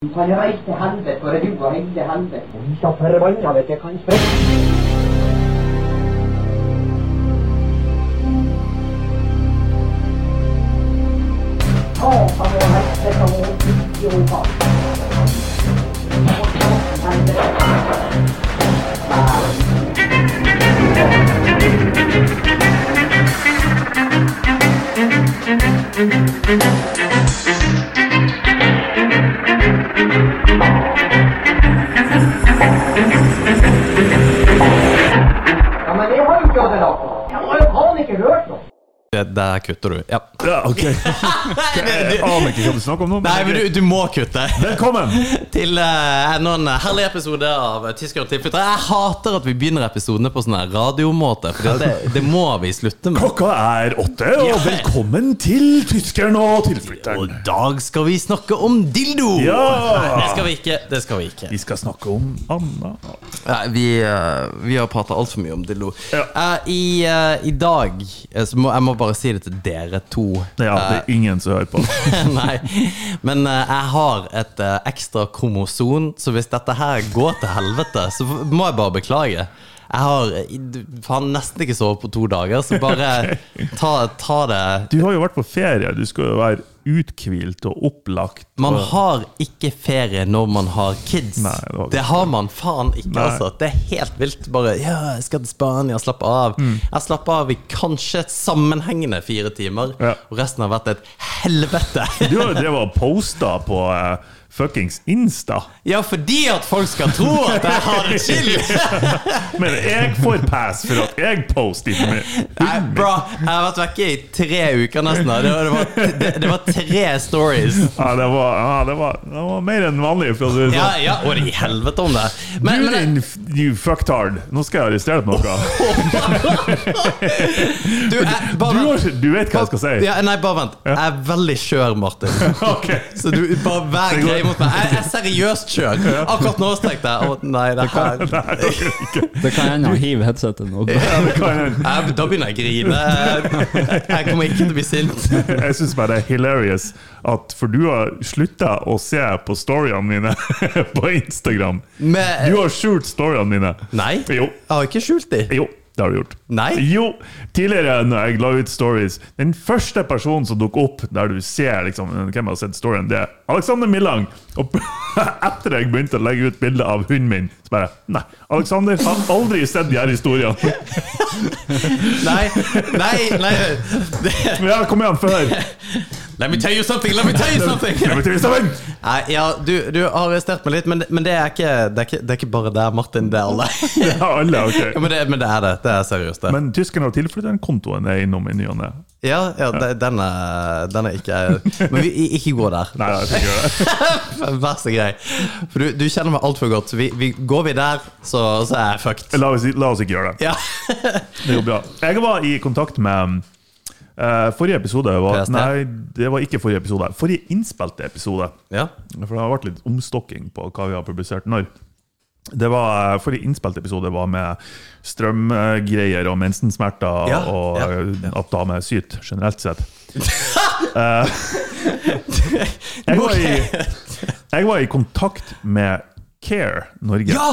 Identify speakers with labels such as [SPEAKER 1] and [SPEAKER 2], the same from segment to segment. [SPEAKER 1] Du kan reise til helvete, for du har reist til helvete. Vi skal forbanna vet jeg kan sprekke. Ja, men jeg har jo ikke hatt det nok. Jeg har jo faen ikke hørt noe.
[SPEAKER 2] Det der kutter du. Ja.
[SPEAKER 3] Ja, ok. Jeg aner ikke hva du snakker om nå. men
[SPEAKER 2] Nei, men du, du må kutte.
[SPEAKER 3] Velkommen!
[SPEAKER 2] Til eh, enda en herlig episode av Tysker og tilflyttere. Jeg hater at vi begynner episodene på sånn her radiomåte, for det, det må vi slutte med.
[SPEAKER 3] Klokka er åtte, og
[SPEAKER 2] Ja.
[SPEAKER 3] velkommen til tyskeren og
[SPEAKER 2] Og
[SPEAKER 3] tilflytteren.
[SPEAKER 2] i dag skal vi snakke om dildo! Nei, det
[SPEAKER 3] Ja!
[SPEAKER 2] skal vi ikke. det skal Vi ikke
[SPEAKER 3] Vi skal snakke om Anna.
[SPEAKER 2] Nei, Vi, eh, vi har prata altfor mye om dildo.
[SPEAKER 3] Ja.
[SPEAKER 2] Eh, I, eh, I dag eh, så må jeg må bare si det til dere to.
[SPEAKER 3] Ja, det er ingen som hører på.
[SPEAKER 2] Nei, men eh, jeg har et eh, ekstra kromoson, så hvis dette her går til helvete, så må jeg bare beklage. Jeg har eh, i- faen nesten ikke sovet på to dager, så bare ta, ta det
[SPEAKER 3] Du har jo vært på ferie. Du skal jo være uthvilt og opplagt.
[SPEAKER 2] Man
[SPEAKER 3] og-
[SPEAKER 2] har ikke ferie når man har kids.
[SPEAKER 3] Nei, det har vi
[SPEAKER 2] det
[SPEAKER 3] ikke.
[SPEAKER 2] har man faen ikke,
[SPEAKER 3] Nei.
[SPEAKER 2] altså. Det er helt vilt. Bare ja, jeg skal til Spania, slapp av.
[SPEAKER 3] Mm.
[SPEAKER 2] Jeg slapp av i kanskje sammenhengende fire timer,
[SPEAKER 3] Ja.
[SPEAKER 2] og resten har vært et helvete.
[SPEAKER 3] Du har jo drevet og posta på eh, fuckings Insta.
[SPEAKER 2] Ja, fordi at folk skal tro at jeg har det chill!
[SPEAKER 3] Men jeg får pass for at jeg poster ikke
[SPEAKER 2] Nei,
[SPEAKER 3] mer.
[SPEAKER 2] bra, jeg har vært vekke i tre uker nesten. da. Det var, det var, det, det var tre stories.
[SPEAKER 3] Ja, det, var, ja, det, var, det var mer enn vanlig. For å si det
[SPEAKER 2] Ja,
[SPEAKER 3] sånn.
[SPEAKER 2] ja, og i helvete om det. Men,
[SPEAKER 3] Du
[SPEAKER 2] men
[SPEAKER 3] din f- you fucktard, nå skal jeg arrestere deg på noe.
[SPEAKER 2] du, jeg,
[SPEAKER 3] Du,
[SPEAKER 2] bare
[SPEAKER 3] har, du vet hva jeg skal si?
[SPEAKER 2] Ja, nei, bare vent. Jeg er veldig skjør, Martin.
[SPEAKER 3] Ok.
[SPEAKER 2] Så du bare vær
[SPEAKER 3] Det går-
[SPEAKER 2] grei mot meg. Jeg jeg er seriøst skjør. Akkurat nå tenkte jeg å nei, det her
[SPEAKER 4] Det kan hende han hiver headsetet nå.
[SPEAKER 3] Det kan hende.
[SPEAKER 2] jeg, Da begynner jeg å grine. Jeg kommer ikke til å bli sint.
[SPEAKER 3] Jeg syns bare det er hilarious at For du har slutta å se på storyene mine på Instagram.
[SPEAKER 2] Men
[SPEAKER 3] Du har skjult storyene mine.
[SPEAKER 2] Nei, jeg
[SPEAKER 3] Jo.
[SPEAKER 2] har ikke skjult de.
[SPEAKER 3] Jo, det har du gjort.
[SPEAKER 2] Nei.
[SPEAKER 3] Jo, tidligere når jeg la ut stories, den første personen som dukket opp der du ser liksom, hvem har sett storyen, det er Alexander Millang. Og etter jeg begynte å legge ut bilder av hunden min, så bare Nei, Alexander har aldri sett de her historiene.
[SPEAKER 2] Nei, nei, nei
[SPEAKER 3] Men jeg kom igjen før.
[SPEAKER 2] Let me tell you something, let me tell you something
[SPEAKER 3] Klemmer til sammen.
[SPEAKER 2] Nei, ja, du, du har arrestert meg litt Men, men det, er ikke, det, er ikke, det er ikke bare der, Martin Det er alle
[SPEAKER 3] Ja, alle,
[SPEAKER 2] ja,
[SPEAKER 3] ok.
[SPEAKER 2] men, det, men det er det, det er seriøst det
[SPEAKER 3] Men tyskerne har tilflyttet den kontoen jeg er innom i ny og ne.
[SPEAKER 2] Ja, ja det, den, er, den er ikke Men vi, i- ikke gå der
[SPEAKER 3] Nei, jeg skal ikke gjøre det.
[SPEAKER 2] Vær så grei For du, du kjenner meg alt for godt vi, vi, Går vi der, så, så er jeg fucked
[SPEAKER 3] La oss, la oss ikke gjøre det.
[SPEAKER 2] Ja,
[SPEAKER 3] Det går bra. Jeg var i kontakt med eh, Forrige episode var
[SPEAKER 2] PST?
[SPEAKER 3] Nei, det var ikke forrige episode. Forrige innspilte episode.
[SPEAKER 2] ja.
[SPEAKER 3] For det har vært litt omstokking på hva vi har publisert når. Det var, eh, Forrige innspilte episode var med strømgreier og mensensmerter
[SPEAKER 2] Ja,
[SPEAKER 3] og
[SPEAKER 2] ja,
[SPEAKER 3] eh, at damer syter generelt sett. Eh, jeg, var i, jeg var i kontakt med Care Norge.
[SPEAKER 2] ja!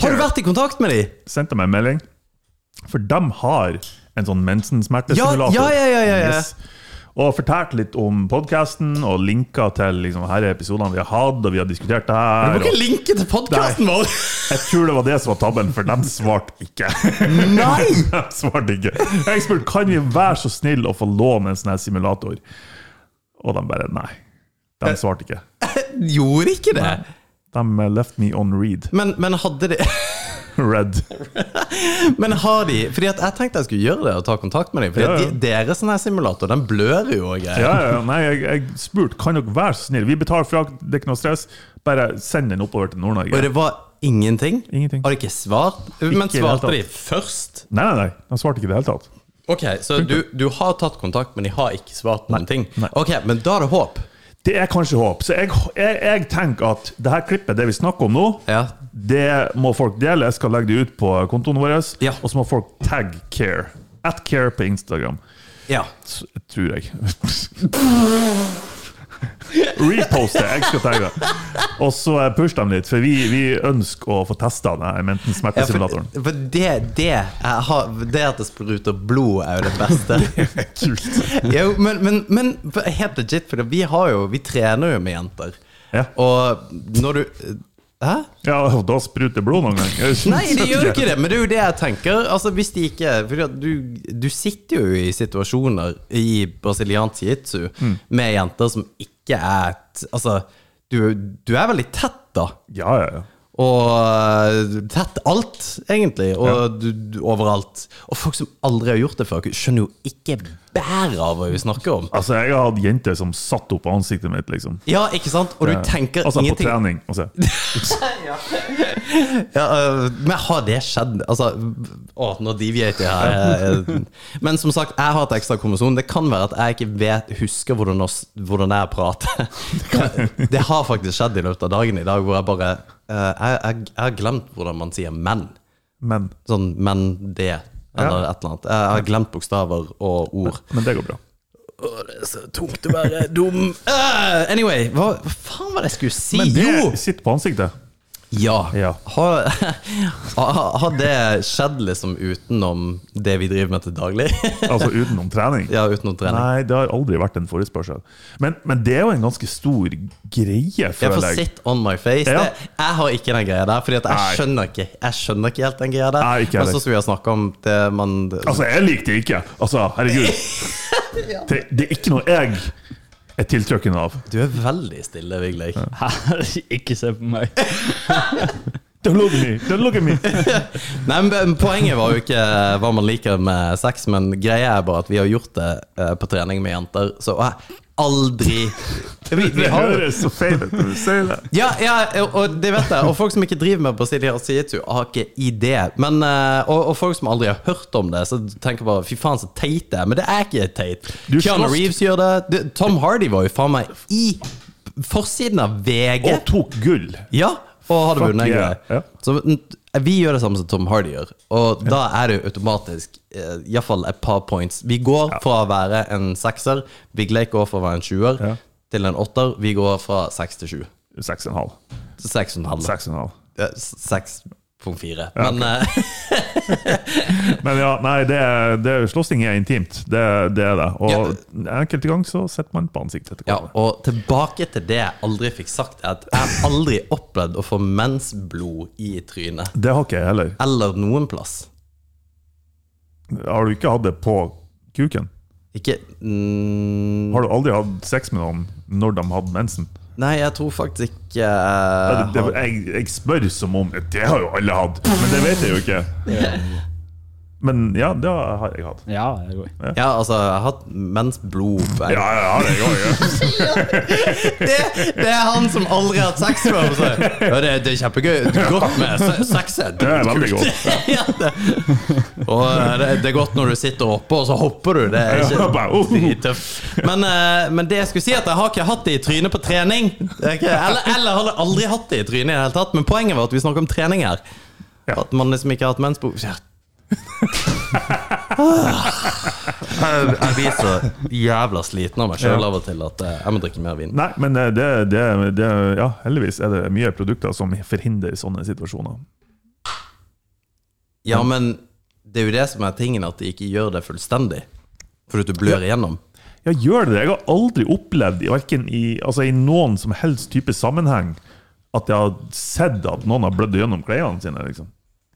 [SPEAKER 2] Har du vært i kontakt med de?
[SPEAKER 3] sendte meg en melding. For de har en sånn mensensmertesimulator.
[SPEAKER 2] Ja, ja, ja, ja, ja, ja.
[SPEAKER 3] Og fortalte litt om podkasten og linka til liksom, her er episodene vi har hatt. Og vi har diskutert det her.
[SPEAKER 2] Du må ikke
[SPEAKER 3] og-
[SPEAKER 2] linke til podcasten vår
[SPEAKER 3] Jeg tror det var det som var tabben, for de svarte ikke.
[SPEAKER 2] Nei!
[SPEAKER 3] de svarte ikke. Jeg spurte kan vi være så snill å få låne en sånn her simulator.
[SPEAKER 2] Eh.
[SPEAKER 3] Og de bare nei. De svarte ikke.
[SPEAKER 2] Gjorde ikke det?
[SPEAKER 3] De eh, left me on read.
[SPEAKER 2] Men, men hadde de
[SPEAKER 3] Red.
[SPEAKER 2] Men har de Fordi at jeg tenkte jeg skulle gjøre det og ta kontakt med dem. Fordi at
[SPEAKER 3] Ja, ja.
[SPEAKER 2] de, deres sånn her simulator, den blør jo og greier.
[SPEAKER 3] Ja, ja, ja. Nei, jeg, jeg spurte kan dere være så snill. Vi betaler frakt, det er ikke noe stress. Bare send den oppover til
[SPEAKER 2] Og
[SPEAKER 3] Nord-Norge.
[SPEAKER 2] det var ingenting?
[SPEAKER 3] Ingenting.
[SPEAKER 2] Har de ikke svart? Men
[SPEAKER 3] Ikke i det hele
[SPEAKER 2] svarte de
[SPEAKER 3] tatt.
[SPEAKER 2] først?
[SPEAKER 3] Nei, nei, nei. De svarte ikke i det hele tatt.
[SPEAKER 2] Ok, Så du, du har tatt kontakt, men de har ikke svart noen ting?
[SPEAKER 3] nei.
[SPEAKER 2] Ok, Men da er det håp?
[SPEAKER 3] Det er kanskje håp. Så jeg, jeg, jeg tenker at det her klippet, det vi snakker om nå,
[SPEAKER 2] Ja.
[SPEAKER 3] det må folk dele. Jeg skal legge det ut på kontoen vår.
[SPEAKER 2] Ja.
[SPEAKER 3] Og så må folk tagge Care. At Care på Instagram.
[SPEAKER 2] Ja.
[SPEAKER 3] S- Tror jeg. Repost det. Jeg skal tagge det. Og så eh, push dem litt, for vi, vi ønsker å få testa denne menten
[SPEAKER 2] Ja, for,
[SPEAKER 3] smertesimulatoren.
[SPEAKER 2] for det, det, jeg har, det at det spruter blod, er jo det beste.
[SPEAKER 3] Kult.
[SPEAKER 2] jo, men, men, men for- helt legit, for vi har jo Vi trener jo med jenter.
[SPEAKER 3] Ja.
[SPEAKER 2] Og når du Hæ?
[SPEAKER 3] Ja, og da spruter blod noen gang. Jeg synes
[SPEAKER 2] Nei, de gjør jo
[SPEAKER 3] ikke.
[SPEAKER 2] ikke det, men det er jo det jeg tenker. Altså, hvis de ikke fordi at du, du sitter jo i situasjoner i brasiliansk jiu-jitsu
[SPEAKER 3] Mm.
[SPEAKER 2] med jenter som ikke er t- Altså, du, du er veldig tett, da.
[SPEAKER 3] Ja, ja, ja.
[SPEAKER 2] Og eh, tett alt, egentlig. Og du, du, overalt. Og folk som aldri har gjort det før, skjønner jo ikke bæret av hva vi snakker om.
[SPEAKER 3] Altså, jeg har hatt jenter som satt opp ansiktet mitt, liksom.
[SPEAKER 2] Ja, ikke sant? Og du tenker
[SPEAKER 3] altså,
[SPEAKER 2] ingenting.
[SPEAKER 3] på trening. Altså.
[SPEAKER 2] Ja, øh, men har det skjedd? Altså, å, nå deviater jeg her. Jeg- Men som sagt, jeg har et ekstra kromosom. Det kan være at jeg ikke vet, husker hvordan, oss- hvordan jeg prater. Det har faktisk skjedd i løpet av dagen i dag, hvor jeg bare øh, jeg, jeg, jeg har glemt hvordan man sier menn.
[SPEAKER 3] Men,
[SPEAKER 2] Sånn men det, eller et eller annet. Jeg har glemt bokstaver og ord.
[SPEAKER 3] men det går bra.
[SPEAKER 2] Å, det er så tungt å være dum. Øh, anyway, hva, hva faen var det jeg skulle si?
[SPEAKER 3] Men
[SPEAKER 2] jo!
[SPEAKER 3] det sitter på ansiktet.
[SPEAKER 2] Ja.
[SPEAKER 3] Ja.
[SPEAKER 2] Har, har har det skjedd liksom utenom det vi driver med til daglig?
[SPEAKER 3] Altså utenom trening.
[SPEAKER 2] ja, utenom trening.
[SPEAKER 3] Nei, det har aldri vært en forespørsel. Men, men det er jo en ganske stor greie,
[SPEAKER 2] Jeg får
[SPEAKER 3] føler jeg.
[SPEAKER 2] sit on my face.
[SPEAKER 3] Ja.
[SPEAKER 2] Det, jeg har ikke den greia der, Fordi at
[SPEAKER 3] Nei.
[SPEAKER 2] jeg skjønner ikke Jeg skjønner ikke helt den greia der.
[SPEAKER 3] Nei, ikke
[SPEAKER 2] Men
[SPEAKER 3] heller.
[SPEAKER 2] så skulle vi ha snakka om det man
[SPEAKER 3] Altså, jeg likte det ikke. Altså, herregud. Det, det er ikke noe jeg er tiltrukken av.
[SPEAKER 2] Du er veldig stille, Vigleik.
[SPEAKER 4] Ikke se på meg.
[SPEAKER 3] Don't look at me! Don't look at me!
[SPEAKER 2] Nei, men Poenget var jo ikke eh, hva man liker med sex, men greia er bare at vi har gjort det eh, på trening med jenter, så jeg aldri vi, vi
[SPEAKER 3] Det
[SPEAKER 2] har,
[SPEAKER 3] høres så feil ut når du sier det.
[SPEAKER 2] Ja, ja, og det vet jeg. Og folk som ikke driver med brasiliansk jiu-jitsu, har ikke idé. Men, eh, og, og folk som aldri har hørt om det, så tenker bare fy faen, så teit det er. Men det er ikke teit.
[SPEAKER 3] Du
[SPEAKER 2] Keanu
[SPEAKER 3] slåss-
[SPEAKER 2] Reeves gjør det. det. Tom Hardy var jo faen meg i forsiden av VG.
[SPEAKER 3] Og tok gull.
[SPEAKER 2] Ja, og hadde
[SPEAKER 3] Fuck
[SPEAKER 2] vunnet en
[SPEAKER 3] yeah,
[SPEAKER 2] greie.
[SPEAKER 3] ja.
[SPEAKER 2] Så n- vi gjør det samme som Tom Hardy gjør, og da er det jo automatisk eh, iallfall et par points. Vi går fra å være en sekser, Big Lake går fra å være en sjuer,
[SPEAKER 3] Ja.
[SPEAKER 2] til en åtter. Vi går fra seks til sju.
[SPEAKER 3] Seks og en halv.
[SPEAKER 2] Seks og en halv.
[SPEAKER 3] Seks og en halv.
[SPEAKER 2] Ja, s- 6.4. Men eh,
[SPEAKER 3] Men ja, nei, det, er- det, er- slåssing er intimt. Det, det er det. Og enkelte ganger så setter man på ansiktet til
[SPEAKER 2] ja,
[SPEAKER 3] hverandre.
[SPEAKER 2] Og tilbake til det jeg aldri fikk sagt, er at jeg har aldri opplevd å få mensblod i trynet.
[SPEAKER 3] Det har ikke jeg heller.
[SPEAKER 2] Eller noen plass.
[SPEAKER 3] Har du ikke hatt det på kuken?
[SPEAKER 2] Ikke mm,
[SPEAKER 3] Har du aldri hatt sex med noen når de hadde mensen?
[SPEAKER 2] Nei, jeg tror faktisk ikke
[SPEAKER 3] Det,
[SPEAKER 2] eh,
[SPEAKER 3] det, jeg, jeg spør som om Det har jo alle hatt, men det vet jeg jo ikke. Men ja, det har jeg hatt.
[SPEAKER 4] Ja, jeg går.
[SPEAKER 2] Ja, altså, jeg har hatt mensblod på
[SPEAKER 3] Ja, jeg har det, jeg har det.
[SPEAKER 2] det, det er han som aldri har hatt sex før. så- Ja, det, det er kjempegøy. Godt med se- sex. er
[SPEAKER 3] Det er veldig
[SPEAKER 2] dritkult.
[SPEAKER 3] godt.
[SPEAKER 2] Ja, det. Og eh, det, det er godt når du sitter oppe, og så hopper du. Det er
[SPEAKER 3] Ja,
[SPEAKER 2] ikke
[SPEAKER 3] bare, oh.
[SPEAKER 2] drittøft. Men, eh, men det jeg skulle si, er at jeg har ikke hatt det i trynet på trening. Det er ikke, eller, eller har jeg aldri hatt det i trynet i det hele tatt. Men poenget var at vi snakker om trening her.
[SPEAKER 3] Ja.
[SPEAKER 2] At man liksom ikke har hatt mensbo... Ja. Jeg jeg blir så jævla sliten av meg sjøl
[SPEAKER 3] Ja.
[SPEAKER 2] av og til at eh, jeg må drikke mer vin.
[SPEAKER 3] Nei, men eh, det, det, det Ja, heldigvis er det mye produkter som forhindrer sånne situasjoner.
[SPEAKER 2] Ja, men det er jo det som er tingen, at de ikke gjør det fullstendig. Fordi at du blør igjennom.
[SPEAKER 3] Ja, gjør det det? Jeg har aldri opplevd, i hverken i, altså, i noen som helst type sammenheng, at jeg har sett at noen har blødd gjennom klærne sine, liksom.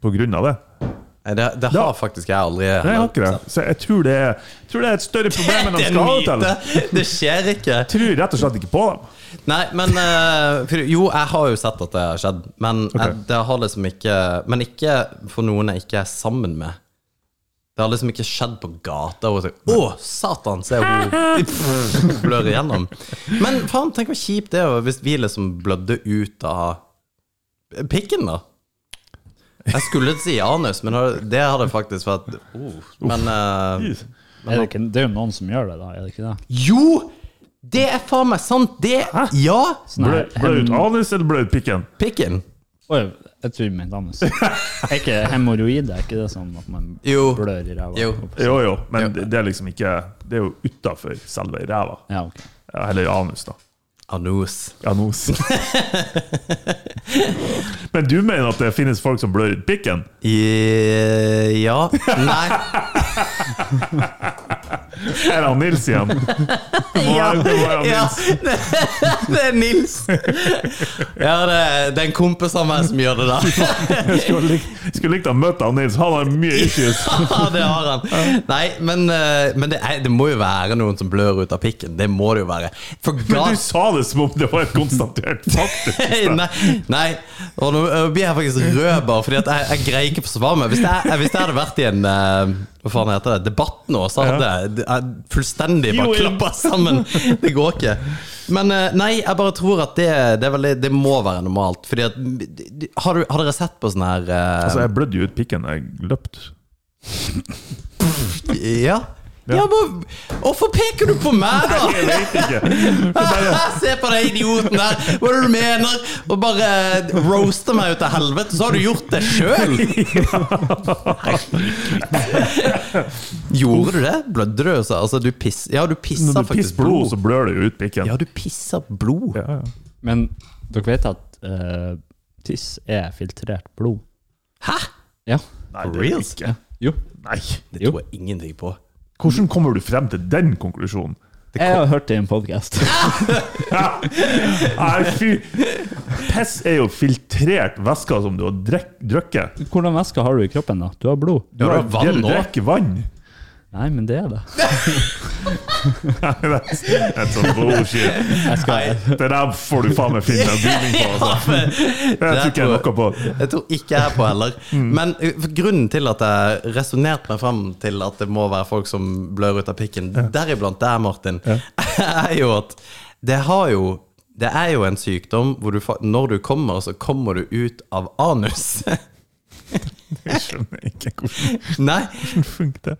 [SPEAKER 3] På grunn av det.
[SPEAKER 2] Nei, Det, det har
[SPEAKER 3] Da-
[SPEAKER 2] faktisk jeg aldri
[SPEAKER 3] Nei, jeg har ikke det. Så jeg tror det er, jeg tror det er et større problem enn de
[SPEAKER 2] Det er
[SPEAKER 3] skal ha det
[SPEAKER 2] en
[SPEAKER 3] til.
[SPEAKER 2] myte! Det skjer ikke.
[SPEAKER 3] Jeg tror rett og slett ikke på dem.
[SPEAKER 2] Nei, men eh, for, Jo, jeg har jo sett at det har skjedd, men jeg, det har liksom ikke Men ikke for noen jeg ikke er sammen med. Det har liksom ikke skjedd på gata. Og sånn, Å, satan, se hun blør igjennom. Men faen, tenk hvor kjipt det er jo hvis vi liksom blødde ut av pikken, da. Jeg skulle si anus, men det hadde faktisk vært oh, Men eh,
[SPEAKER 4] Er det, ikke, det er jo noen som gjør det, da. Er det ikke det?
[SPEAKER 2] Jo! Det er faen meg sant! Det Ja!
[SPEAKER 4] Sånn
[SPEAKER 3] Ble, ble det ut
[SPEAKER 4] hem-
[SPEAKER 3] anus eller ble det ut pikken?
[SPEAKER 2] Pikken.
[SPEAKER 4] Oi, jeg tror jeg mente anus. Er ikke hemoroider er ikke det sånn at man
[SPEAKER 2] Jo.
[SPEAKER 4] blør i ræva?
[SPEAKER 2] Jo.
[SPEAKER 3] Jo, jo, men det det er liksom ikke Det er jo utafor selve ræva.
[SPEAKER 4] Ja, ok.
[SPEAKER 3] Eller anus, da.
[SPEAKER 2] Anus.
[SPEAKER 3] Anus. men du mener at det finnes folk som blør ut pikken?
[SPEAKER 2] Eh, ja. Nei.
[SPEAKER 3] Her er han Nils igjen. Ja,
[SPEAKER 2] ja. Det er Nils. Ja, det er, det er en kompis av meg som gjør det der.
[SPEAKER 3] Skulle likt- skulle likt å møte han Nils. Han har mye issues.
[SPEAKER 2] Ja, det har han. Nei, men, eh, men det, er, det må jo være noen som blør ut av pikken. Det må det jo være. For
[SPEAKER 3] Men du
[SPEAKER 2] god
[SPEAKER 3] sa det som om det var et konstatert faktum.
[SPEAKER 2] Nei, nei. Og nå eh, blir jeg faktisk rød bare fordi at jeg, jeg greier ikke å forsvare meg. Hvis jeg, jeg- hvis jeg hadde vært i en eh, hva faen heter det, debatt nå, så hadde jeg- jeg fullstendig bare
[SPEAKER 3] Jo, jo.
[SPEAKER 2] klappa sammen. Det går ikke. Men eh, nei, jeg bare tror at det, det, er veldig, det må være normalt. Fordi at Har, du, har dere sett på sånn her eh,
[SPEAKER 3] Altså, jeg blødde jo ut pikken da jeg løpte.
[SPEAKER 2] Ja. Ja, men Hvorfor peker du på meg, da?
[SPEAKER 3] Jeg vet ikke.
[SPEAKER 2] Se på den idioten der! Hva er det du mener? Og bare eh, roaster meg ut av helvete, så har du gjort det sjøl! Gjorde du det? Blødde du? Altså, altså du piss, ja, du pissa
[SPEAKER 3] Når du pisser
[SPEAKER 2] faktisk
[SPEAKER 3] blod,
[SPEAKER 2] blod.
[SPEAKER 3] så blør det jo ut pikken.
[SPEAKER 2] Ja, du pissa blod.
[SPEAKER 3] Ja, ja.
[SPEAKER 4] Men dere vet at eh, tiss er filtrert blod?
[SPEAKER 2] Hæ?
[SPEAKER 4] Ja.
[SPEAKER 3] Nei,
[SPEAKER 2] For
[SPEAKER 3] det er
[SPEAKER 2] real?
[SPEAKER 3] det ikke.
[SPEAKER 4] Jo.
[SPEAKER 3] Nei.
[SPEAKER 2] Det
[SPEAKER 4] Jo.
[SPEAKER 2] tror jeg ingenting på.
[SPEAKER 3] Hvordan kommer du frem til den konklusjonen?
[SPEAKER 4] Jeg har hørt det i en podkast.
[SPEAKER 3] Nei, fy Piss er jo filtrert væske som du har drek- drukket.
[SPEAKER 4] Hvordan væske har du i kroppen, da? Du har blod.
[SPEAKER 3] Du har
[SPEAKER 2] det er vann
[SPEAKER 3] det du
[SPEAKER 2] nå.
[SPEAKER 3] drikker vann.
[SPEAKER 4] Nei, men det er det.
[SPEAKER 3] That's, that's some bullshit.
[SPEAKER 4] Jeg skal,
[SPEAKER 3] Det der får du faen meg finne en bygning på. Altså. Jeg tror ikke jeg er noe på.
[SPEAKER 2] Jeg tror ikke jeg er på heller. Men uh, for grunnen til at jeg resonnerte meg fram til at det må være folk som blør ut av pikken, deriblant deg, Martin, er jo at det har jo det er jo en sykdom hvor du, fa- når du kommer, så kommer du ut av anus.
[SPEAKER 3] Jeg skjønner ikke hvordan
[SPEAKER 2] Nei.
[SPEAKER 3] det funker.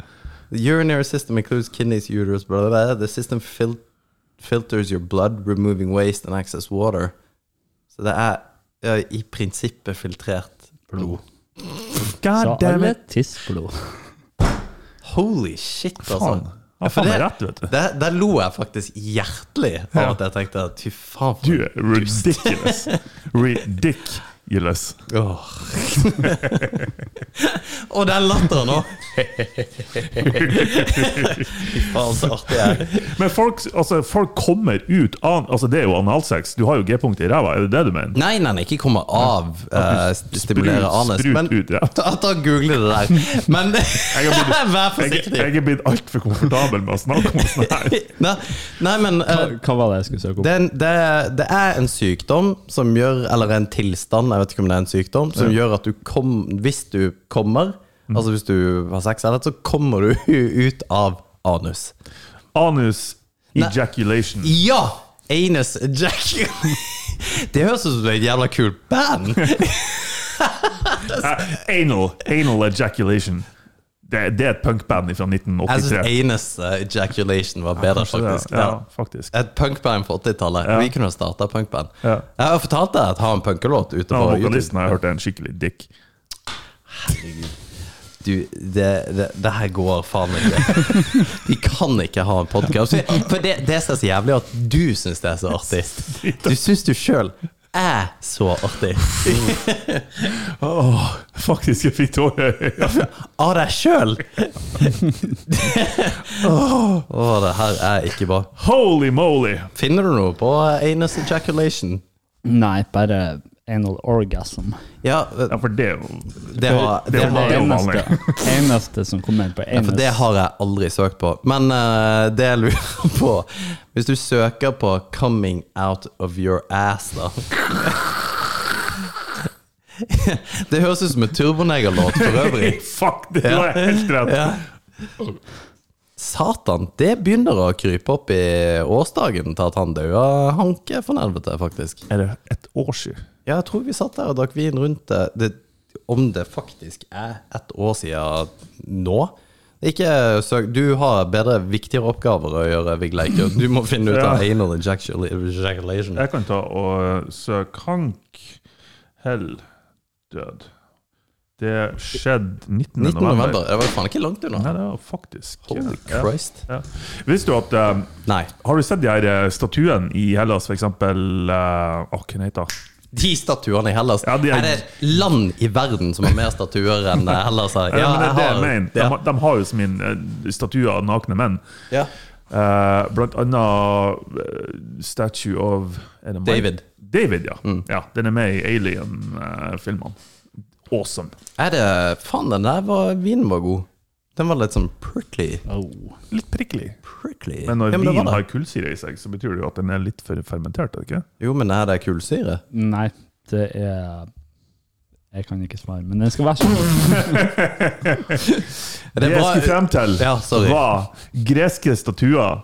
[SPEAKER 2] Urinary system includes kidneys, uterus, blah, blah, blah. The system fil filters your blood, removing waste and excess water. Så det er ja, i prinsippet filtrert blod.
[SPEAKER 4] så
[SPEAKER 3] God damn
[SPEAKER 4] alle
[SPEAKER 3] it.
[SPEAKER 4] tissblod.
[SPEAKER 2] Holy shit, altså.
[SPEAKER 3] Faen.
[SPEAKER 2] Ja,
[SPEAKER 3] Han
[SPEAKER 2] for
[SPEAKER 3] faen meg
[SPEAKER 2] det-
[SPEAKER 3] rett, vet du.
[SPEAKER 2] Der, der lo jeg faktisk hjertelig av at jeg tenkte at fy faen. for-
[SPEAKER 3] Du er ridiculous. Ridiculous.
[SPEAKER 2] Åh. Og den latteren òg! Fy faen, så artig jeg er.
[SPEAKER 3] Men folk, altså, folk kommer ut av Altså, det er jo analsex. Du har jo G-punkt i ræva, er det det du mener?
[SPEAKER 2] Nei, nei, nei, ikke komme av eh, st- stimulere anus.
[SPEAKER 3] sprut
[SPEAKER 2] men-
[SPEAKER 3] ut, ja.
[SPEAKER 2] ta, ta Google det der. Men vær
[SPEAKER 3] Jeg,
[SPEAKER 2] forsiktig.
[SPEAKER 3] jeg er blitt altfor komfortabel med å snakke om sånn her.
[SPEAKER 2] Nei, nei men eh,
[SPEAKER 4] Hva var det jeg skulle søke opp?
[SPEAKER 2] Det er, en, det, det er en sykdom som gjør Eller en tilstand, jeg vet ikke om det er en sykdom, som gjør at du kom, hvis du kommer,
[SPEAKER 3] Mm.
[SPEAKER 2] altså hvis du har sex eller et, så kommer du ut av anus.
[SPEAKER 3] Anus ejaculation.
[SPEAKER 2] Ja! Anus Jack. Det høres ut som et jævla kult band.
[SPEAKER 3] Eh, anal. Anal ejaculation. Det, det er et punkband fra
[SPEAKER 2] Jeg syns
[SPEAKER 3] 1983.
[SPEAKER 2] anus eh, ejaculation var bedre,
[SPEAKER 3] Kanskje det,
[SPEAKER 2] faktisk.
[SPEAKER 3] Ja,
[SPEAKER 2] Ja.
[SPEAKER 3] faktisk.
[SPEAKER 2] Et punkband fra 80-tallet. Vi kunne ha starta punkband.
[SPEAKER 3] Ja.
[SPEAKER 2] Jeg har fortalt deg at jeg har en punkelåt ute
[SPEAKER 3] Ja,
[SPEAKER 2] på YouTube.
[SPEAKER 3] vokalisten har jeg hørt er en skikkelig dick.
[SPEAKER 2] Du, det, det, det her går faen ikke. Vi kan ikke ha en podkast. For det, det som er så jævlig, er at du syns det er så artig. Du syns du sjøl er så artig.
[SPEAKER 3] Åh, faktisk, jeg fikk tårer i øynene.
[SPEAKER 2] Av deg sjøl! Å, det her er ikke bra.
[SPEAKER 3] Holy moly!
[SPEAKER 2] Finner du noe på anus ejaculation?
[SPEAKER 4] Nei, bare anal orgasm.
[SPEAKER 2] Ja,
[SPEAKER 3] Ja, for det er jo
[SPEAKER 2] det var, det
[SPEAKER 3] Det
[SPEAKER 2] var
[SPEAKER 3] var-
[SPEAKER 4] det
[SPEAKER 3] jo
[SPEAKER 4] eneste, eneste som kommer på
[SPEAKER 2] Ja, for det
[SPEAKER 4] eneste
[SPEAKER 2] har jeg aldri søkt på. Men eh, det jeg lurer på Hvis du søker på 'coming out of your ass', da Det høres ut som en turbonegerlåt for øvrig.
[SPEAKER 3] Fuck, det var helt rett.
[SPEAKER 2] Ja. Satan, det begynner å krype opp i årsdagen til at han daua Hanke for helvete, faktisk.
[SPEAKER 3] Er det et år siden?
[SPEAKER 2] Ja, jeg tror vi satt der og drakk vin rundt det. det om det faktisk er ett år siden nå. Ikke søk Du har bedre, viktigere oppgaver å gjøre, Vigleikø. Du må finne ut av
[SPEAKER 3] Ja.
[SPEAKER 2] anal ejaculation. ejaculation.
[SPEAKER 3] Jeg kan ta og søke Hank Hell død. Det skjedde
[SPEAKER 2] 19.
[SPEAKER 3] 19.
[SPEAKER 2] november.
[SPEAKER 3] november.
[SPEAKER 2] Det var faen ikke langt
[SPEAKER 3] Nei,
[SPEAKER 2] unna.
[SPEAKER 3] det var faktisk
[SPEAKER 2] Holy
[SPEAKER 3] ja.
[SPEAKER 2] Christ.
[SPEAKER 3] Ja. Visste du at eh,
[SPEAKER 2] Nei.
[SPEAKER 3] Har du sett de her eh, statuene i Hellas, for eksempel eh, Åh, hva heter det?
[SPEAKER 2] De statuene i Hellas.
[SPEAKER 3] Ja, de er-
[SPEAKER 2] er... det et land i verden som har mer statuer enn Hellas? Her?
[SPEAKER 3] Ja, men det er det jeg
[SPEAKER 2] har-
[SPEAKER 3] mener. De,
[SPEAKER 2] Ja.
[SPEAKER 3] har- de har jo som en eh, statue av nakne menn.
[SPEAKER 2] Ja.
[SPEAKER 3] Eh, blant annet eh, Statue of er det Mike?
[SPEAKER 2] David. Mm.
[SPEAKER 3] David, ja. ja. Den er med i Alien-filmene. awesome.
[SPEAKER 2] Er det Faen, den der var, vinen var god. Den var litt sånn prickly.
[SPEAKER 4] oh.
[SPEAKER 3] Litt prikkelig.
[SPEAKER 2] prickly.
[SPEAKER 3] Men når
[SPEAKER 2] Ja, det var
[SPEAKER 3] vin
[SPEAKER 2] det.
[SPEAKER 3] har kullsyre i seg, så betyr det jo at den er litt for fermentert, er det ikke?
[SPEAKER 2] Jo, men er det kullsyre?
[SPEAKER 4] Nei, det er Jeg kan ikke svare, men det skal være sånn.
[SPEAKER 2] Er
[SPEAKER 3] Det jeg skulle frem til,
[SPEAKER 2] Ja, sorry.
[SPEAKER 3] var greske statuer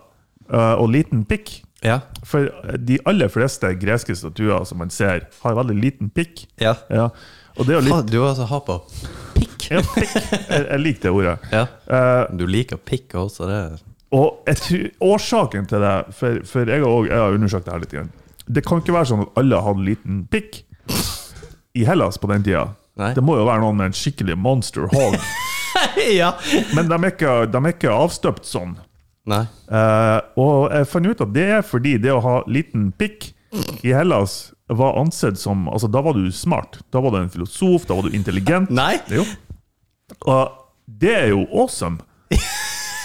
[SPEAKER 3] eh, og liten pikk.
[SPEAKER 2] Ja.
[SPEAKER 3] For de aller fleste greske statuer som man ser, har veldig liten pikk.
[SPEAKER 2] ja.
[SPEAKER 3] Ja. Og det er jo litt
[SPEAKER 2] Faen, du har så hard på pikk.
[SPEAKER 3] ja, pikk. Jeg, jeg liker det ordet.
[SPEAKER 2] Ja.
[SPEAKER 3] Eh,
[SPEAKER 2] Du liker pikk også, det er-
[SPEAKER 3] og jeg tror, årsaken til det, for, for jeg, har også, jeg har undersøkt det her litt, grann. det kan ikke være sånn at alle hadde liten pikk i Hellas på den tida.
[SPEAKER 2] Nei.
[SPEAKER 3] Det må jo være noen med en skikkelig monster hog.
[SPEAKER 2] Ja.
[SPEAKER 3] Men de er ikke, de er ikke avstøpt sånn.
[SPEAKER 2] Nei.
[SPEAKER 3] Eh, og jeg fant ut at det er fordi det å ha liten pikk i Hellas var ansett som Altså, da var du smart. Da var du en filosof, da var du intelligent.
[SPEAKER 2] Nei?
[SPEAKER 3] Jo. Og det er jo awesome.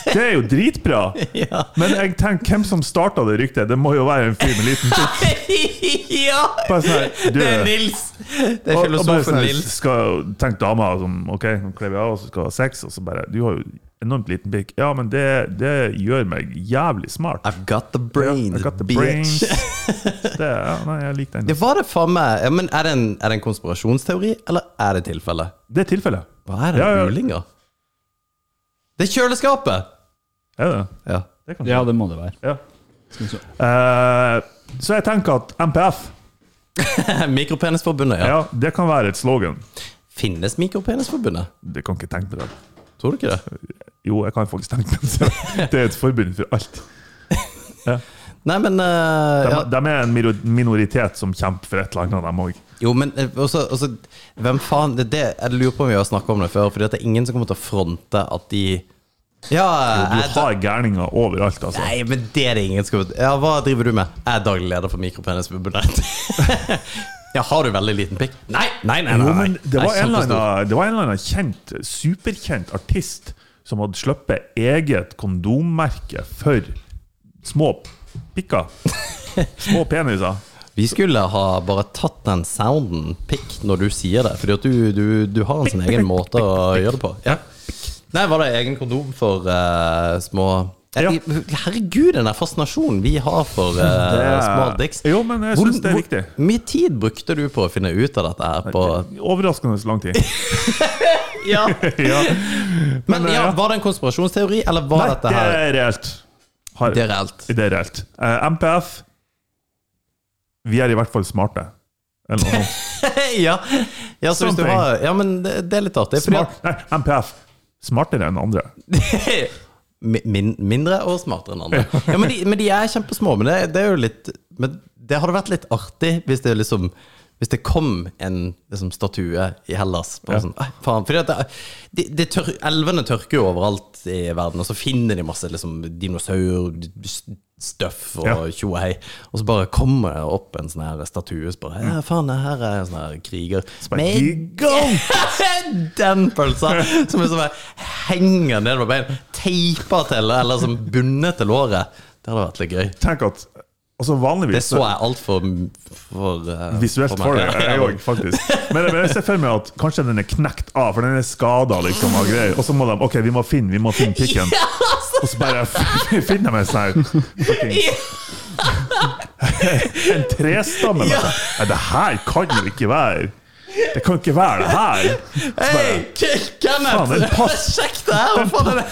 [SPEAKER 3] Det er jo dritbra.
[SPEAKER 2] Ja.
[SPEAKER 3] Men jeg tenker, hvem som starta det ryktet? Det må jo være en fyr med liten pikk.
[SPEAKER 2] ja!
[SPEAKER 3] Bare sånn her, du-
[SPEAKER 2] Det er Nils. Det er
[SPEAKER 3] Og- og bare
[SPEAKER 2] filosofen
[SPEAKER 3] sånn her,
[SPEAKER 2] Nils.
[SPEAKER 3] Skal tenke dama som OK, nå kler vi av og så skal ha sex, og så bare Du har jo enormt liten pikk. Ja, men det, det gjør meg jævlig smart.
[SPEAKER 2] I've got the brains,
[SPEAKER 3] I got the
[SPEAKER 2] bitch.
[SPEAKER 3] brains. Det, er- ja, nei, jeg liker den.
[SPEAKER 2] Det var det faen meg ja, Men er det, en, er det en konspirasjonsteori, eller er det tilfelle?
[SPEAKER 3] Det er tilfellet.
[SPEAKER 2] Hva er det?
[SPEAKER 3] Ja, ja.
[SPEAKER 2] Ulinger? Det er kjøleskapet!
[SPEAKER 3] Er det?
[SPEAKER 2] Ja.
[SPEAKER 3] det kan
[SPEAKER 4] Ja, det må det være.
[SPEAKER 3] Ja.
[SPEAKER 4] Skal vi se.
[SPEAKER 3] Eh, så jeg tenker at MPF
[SPEAKER 2] Mikropenisforbundet, ja.
[SPEAKER 3] ja, det kan være et slogan.
[SPEAKER 2] Finnes Mikropenisforbundet?
[SPEAKER 3] Du kan ikke tenke på det.
[SPEAKER 2] Tror du ikke det?
[SPEAKER 3] Jo, jeg kan faktisk tenke på det. Det er et forbund for alt.
[SPEAKER 2] Nei, men eh,
[SPEAKER 3] De,
[SPEAKER 2] ja.
[SPEAKER 3] de er en miro- minoritet som kjemper for et eller annet, de òg.
[SPEAKER 2] Jo, men eh, også, også, hvem faen det, er det, Jeg lurer på om vi har snakka om det før, Fordi at det er ingen som kommer til å fronte at de Ja,
[SPEAKER 3] Du
[SPEAKER 2] jeg,
[SPEAKER 3] har gærninger overalt, altså.
[SPEAKER 2] Nei, men det er det ingen som kommer til Ja, hva driver du med? Jeg er daglig leder for Mikropenisforbundet. ja, har du veldig liten pikk? Nei, nei, nei. nei, nei.
[SPEAKER 3] Jo, men det
[SPEAKER 2] Jeg
[SPEAKER 3] var,
[SPEAKER 2] er
[SPEAKER 3] en eller
[SPEAKER 2] kjempestor.
[SPEAKER 3] annen, det var en eller annen kjent, superkjent artist som hadde sluppet eget kondommerke for små pikker. Små peniser.
[SPEAKER 2] Vi skulle ha bare tatt den sounden pikk når du sier det, Fordi at du, du, du har en sin egen måte å gjøre det på. Ja. Nei, var det egen kondom for eh, små
[SPEAKER 3] Ja.
[SPEAKER 2] Herregud, den der fascinasjonen vi har for eh,
[SPEAKER 3] Det er-
[SPEAKER 2] små dicks.
[SPEAKER 3] Jo, men jeg
[SPEAKER 2] Hvor-
[SPEAKER 3] synes det er
[SPEAKER 2] hvor-
[SPEAKER 3] viktig.
[SPEAKER 2] mye tid brukte du på å finne ut av dette her? På,
[SPEAKER 3] Overraskende lang tid.
[SPEAKER 2] ja.
[SPEAKER 3] Ja.
[SPEAKER 2] Men
[SPEAKER 3] eh,
[SPEAKER 2] ja,
[SPEAKER 3] ja.
[SPEAKER 2] var det en konspirasjonsteori, eller var
[SPEAKER 3] Nei,
[SPEAKER 2] dette
[SPEAKER 3] det
[SPEAKER 2] her
[SPEAKER 3] er reelt. Har-
[SPEAKER 2] Det er reelt.
[SPEAKER 3] Det er reelt. Eh, MPF Vi er i hvert fall smarte. Eller noe sånt.
[SPEAKER 2] ja. ja, så hvis du
[SPEAKER 3] Something.
[SPEAKER 2] har Ja, men det, det er litt artig. Fordi
[SPEAKER 3] Smart, nei, MPF. Smartere enn andre.
[SPEAKER 2] at Mi- min, Mindre og smartere enn andre. Ja, men de, men de er kjempesmå. Men det, det er jo litt Men det hadde vært litt artig hvis det liksom hvis det kom en liksom, statue i Hellas bare sånn, «Ei, faen, fordi at det, de, de tør, Elvene tørker jo overalt i verden, og så finner de masse liksom, dinosaurstøff og
[SPEAKER 3] Ja.
[SPEAKER 2] tjo og hei. Og så bare kommer det opp en sånn her statue som bare Ja, faen, det her er en sånn her kriger. Med den pølsa som er som er henger ned med bein, teipa til, eller som bundet til låret. Det hadde vært litt gøy.
[SPEAKER 3] Tenk at Altså vanligvis
[SPEAKER 2] Det så jeg altfor for, eh,
[SPEAKER 3] Visuelt
[SPEAKER 2] meg.
[SPEAKER 3] for det,
[SPEAKER 2] Ja,
[SPEAKER 3] jeg
[SPEAKER 2] ja.
[SPEAKER 3] òg, faktisk. Men, men jeg ser for meg at kanskje den er knekt av, for den er skada liksom, av greier. Og så må de OK, vi må finne vi må finne pikken.
[SPEAKER 2] Ja, altså,
[SPEAKER 3] Og så bare f- finner de en sånn her fuckings- En trestamme. Ja. Nei, det her kan jo ikke være Det kan ikke være det her!
[SPEAKER 2] Hei, K- Kenneth!
[SPEAKER 3] Faen, den pass-
[SPEAKER 2] Sjekk det her! Hva faen er det?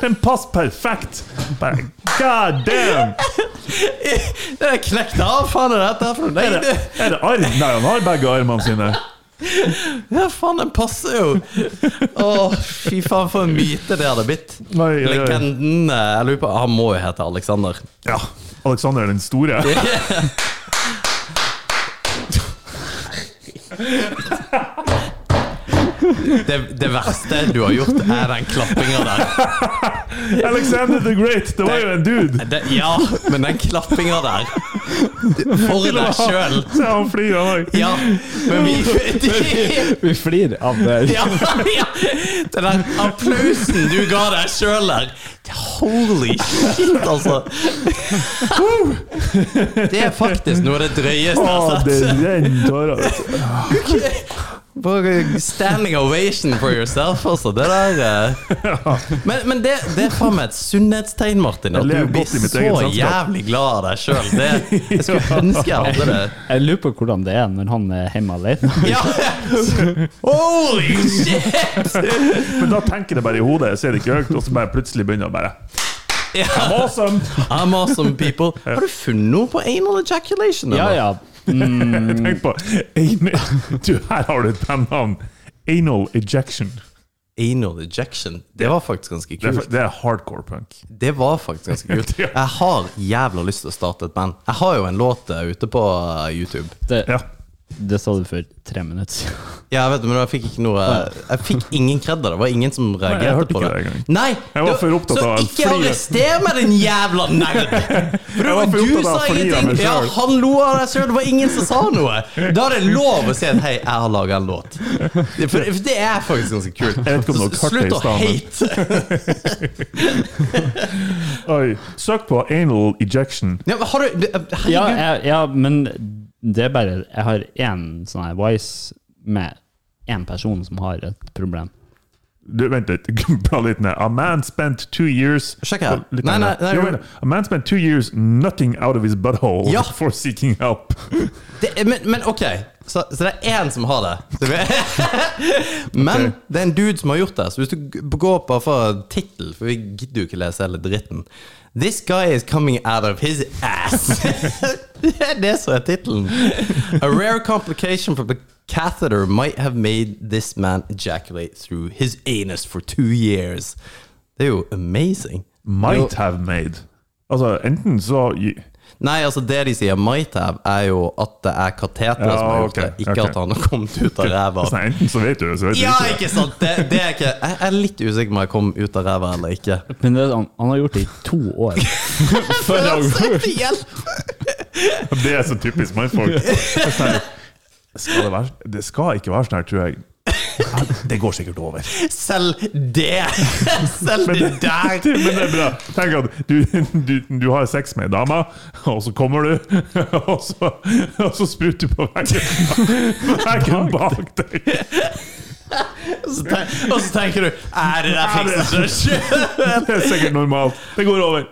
[SPEAKER 3] Den passer perfekt! Bare, God damn!
[SPEAKER 2] Det er knekt av! Faen er dette her for noe?
[SPEAKER 3] Er det,
[SPEAKER 2] Nei,
[SPEAKER 3] er det arm? Nei, han har begge armene sine.
[SPEAKER 2] det- Ja, faen, den passer jo! Å, fy faen, for en myte det hadde blitt.
[SPEAKER 3] Oi, oi, oi.
[SPEAKER 2] Legenden eh, Jeg lurer på Han må jo hete Alexander.
[SPEAKER 3] Ja. Alexander den store.
[SPEAKER 2] Det, det verste du har gjort, er den klappinga der.
[SPEAKER 3] Alexander the Great! Det var jo en dude!
[SPEAKER 2] Det, ja, men den klappinga der For deg sjøl!
[SPEAKER 3] Se, han flirer, han òg.
[SPEAKER 2] Ja, men vi
[SPEAKER 4] Vi flirer av det.
[SPEAKER 2] ja, ja. Den der applausen du ga deg sjøl der. Holy shit, altså. Det er faktisk noe av det drøyeste jeg
[SPEAKER 3] Å,
[SPEAKER 2] har
[SPEAKER 3] det
[SPEAKER 2] sett.
[SPEAKER 3] renner tårer. altså.
[SPEAKER 2] Bare standing ovation for yourself, altså. Det der eh. Men, men det, det er faen meg et sunnhetstegn, Martin. At
[SPEAKER 3] Jeg lever
[SPEAKER 2] du blir
[SPEAKER 3] godt i mitt
[SPEAKER 2] så
[SPEAKER 3] eget selskap.
[SPEAKER 2] jævlig glad av deg sjøl. Jeg skulle ønske jeg hadde det.
[SPEAKER 4] Jeg lurer på hvordan det er når han er hjemme alene.
[SPEAKER 2] Ja. Holy shit!
[SPEAKER 3] Men da tenker det bare i hodet, jeg ser det ikke høyt, og så bare plutselig begynner jeg bare
[SPEAKER 2] Ja.
[SPEAKER 3] I'm awesome!
[SPEAKER 2] I'm awesome people. Har du funnet noe på anal ejaculation?
[SPEAKER 4] Ja,
[SPEAKER 2] eller?
[SPEAKER 4] ja.
[SPEAKER 3] Jeg tenkte på anal- Du, her har du et bandnavn. Anal ejection.
[SPEAKER 2] Anal ejection. Det var faktisk ganske
[SPEAKER 3] Det er,
[SPEAKER 2] kult.
[SPEAKER 3] det er hardcore punk.
[SPEAKER 2] Det var faktisk ganske kult.
[SPEAKER 3] Ja.
[SPEAKER 2] Jeg har jævla lyst til å starte et band. Jeg har jo en låt eh, ute på eh, YouTube.
[SPEAKER 4] Det,
[SPEAKER 3] Ja.
[SPEAKER 4] det sa du for tre minutter siden.
[SPEAKER 2] Ja, jeg vet det, men jeg fikk ikke noe Jeg fikk ingen kred av det. Det var ingen som reagerte
[SPEAKER 3] hørte
[SPEAKER 2] på
[SPEAKER 3] ikke
[SPEAKER 2] det.
[SPEAKER 3] det engang.
[SPEAKER 2] Nei,
[SPEAKER 3] Jeg var
[SPEAKER 2] det-
[SPEAKER 3] for opptatt av å
[SPEAKER 2] Så ikke
[SPEAKER 3] flire.
[SPEAKER 2] arrester meg, din jævla nerd! For det
[SPEAKER 3] Jeg
[SPEAKER 2] var
[SPEAKER 3] var for
[SPEAKER 2] du
[SPEAKER 3] opptatt av
[SPEAKER 2] sa
[SPEAKER 3] å flire av
[SPEAKER 2] ingenting.
[SPEAKER 3] meg
[SPEAKER 2] Ja,
[SPEAKER 3] selv.
[SPEAKER 2] han lo av deg sjøl. Det var ingen som sa noe. Da er det lov å si at 'hei, jeg har laga en låt'. Det- For for det er faktisk ganske kult.
[SPEAKER 3] Jeg vet ikke om
[SPEAKER 2] Så
[SPEAKER 3] dere hørte det
[SPEAKER 2] Slutt å
[SPEAKER 3] i stad, men-
[SPEAKER 2] hate.
[SPEAKER 3] Oi. Søk på anal ejection.
[SPEAKER 2] Ja, men har du det- Herregud.
[SPEAKER 4] Ja, jeg, ja, men det er bare Jeg har én sånn her voice med én person som har et problem.
[SPEAKER 3] Du, vent litt. Bra litt ned. A man spent two years
[SPEAKER 2] Sjekk her.
[SPEAKER 3] Litt
[SPEAKER 2] Nei, nei,
[SPEAKER 3] ned.
[SPEAKER 2] nei,
[SPEAKER 3] Jo,
[SPEAKER 2] nei.
[SPEAKER 3] vent. A man spent two years nutting out of his butthole
[SPEAKER 2] Ja.
[SPEAKER 3] for seeking help.
[SPEAKER 2] Det, er- men, men ok, så, så det er én som har det. Så vi- Men det er en dude som har gjort det. Så hvis du g- går på for tittel, for vi gidder jo ikke lese hele dritten This guy is coming out of his ass. det er det som er tittelen. A rare complication from a catheter might have made this man ejaculate through his anus for two years. Det er jo amazing.
[SPEAKER 3] Might have made. Altså, enten så
[SPEAKER 2] Nei, altså det de sier might have, er jo at det er kateteret
[SPEAKER 3] Ja,
[SPEAKER 2] som har gjort
[SPEAKER 3] ok,
[SPEAKER 2] det, ikke
[SPEAKER 3] ok.
[SPEAKER 2] at han har kommet ut av ræva.
[SPEAKER 3] Sånn, Enten så vet du det, så vet du
[SPEAKER 2] Ja,
[SPEAKER 3] ikke.
[SPEAKER 2] ikke sant! Det, det er ikke Jeg er litt usikker på om jeg kom ut av ræva eller ikke.
[SPEAKER 4] Men det, er han, han har gjort det i to år.
[SPEAKER 3] Det er så typisk mannfolk. Det er sånn her, Skal det, være, det skal ikke være sånn her, tror jeg. Ja, Det går sikkert over.
[SPEAKER 2] Selv det! Selv det der!
[SPEAKER 3] Men det er bra. Tenk at du, du, du har sex med ei dame, og så kommer du, og så, og så spruter du på veggen, veggen bak deg.
[SPEAKER 2] Så ten- Og så tenker du Er det der fikser seg sjøl?
[SPEAKER 3] Det er sikkert normalt. Det går over.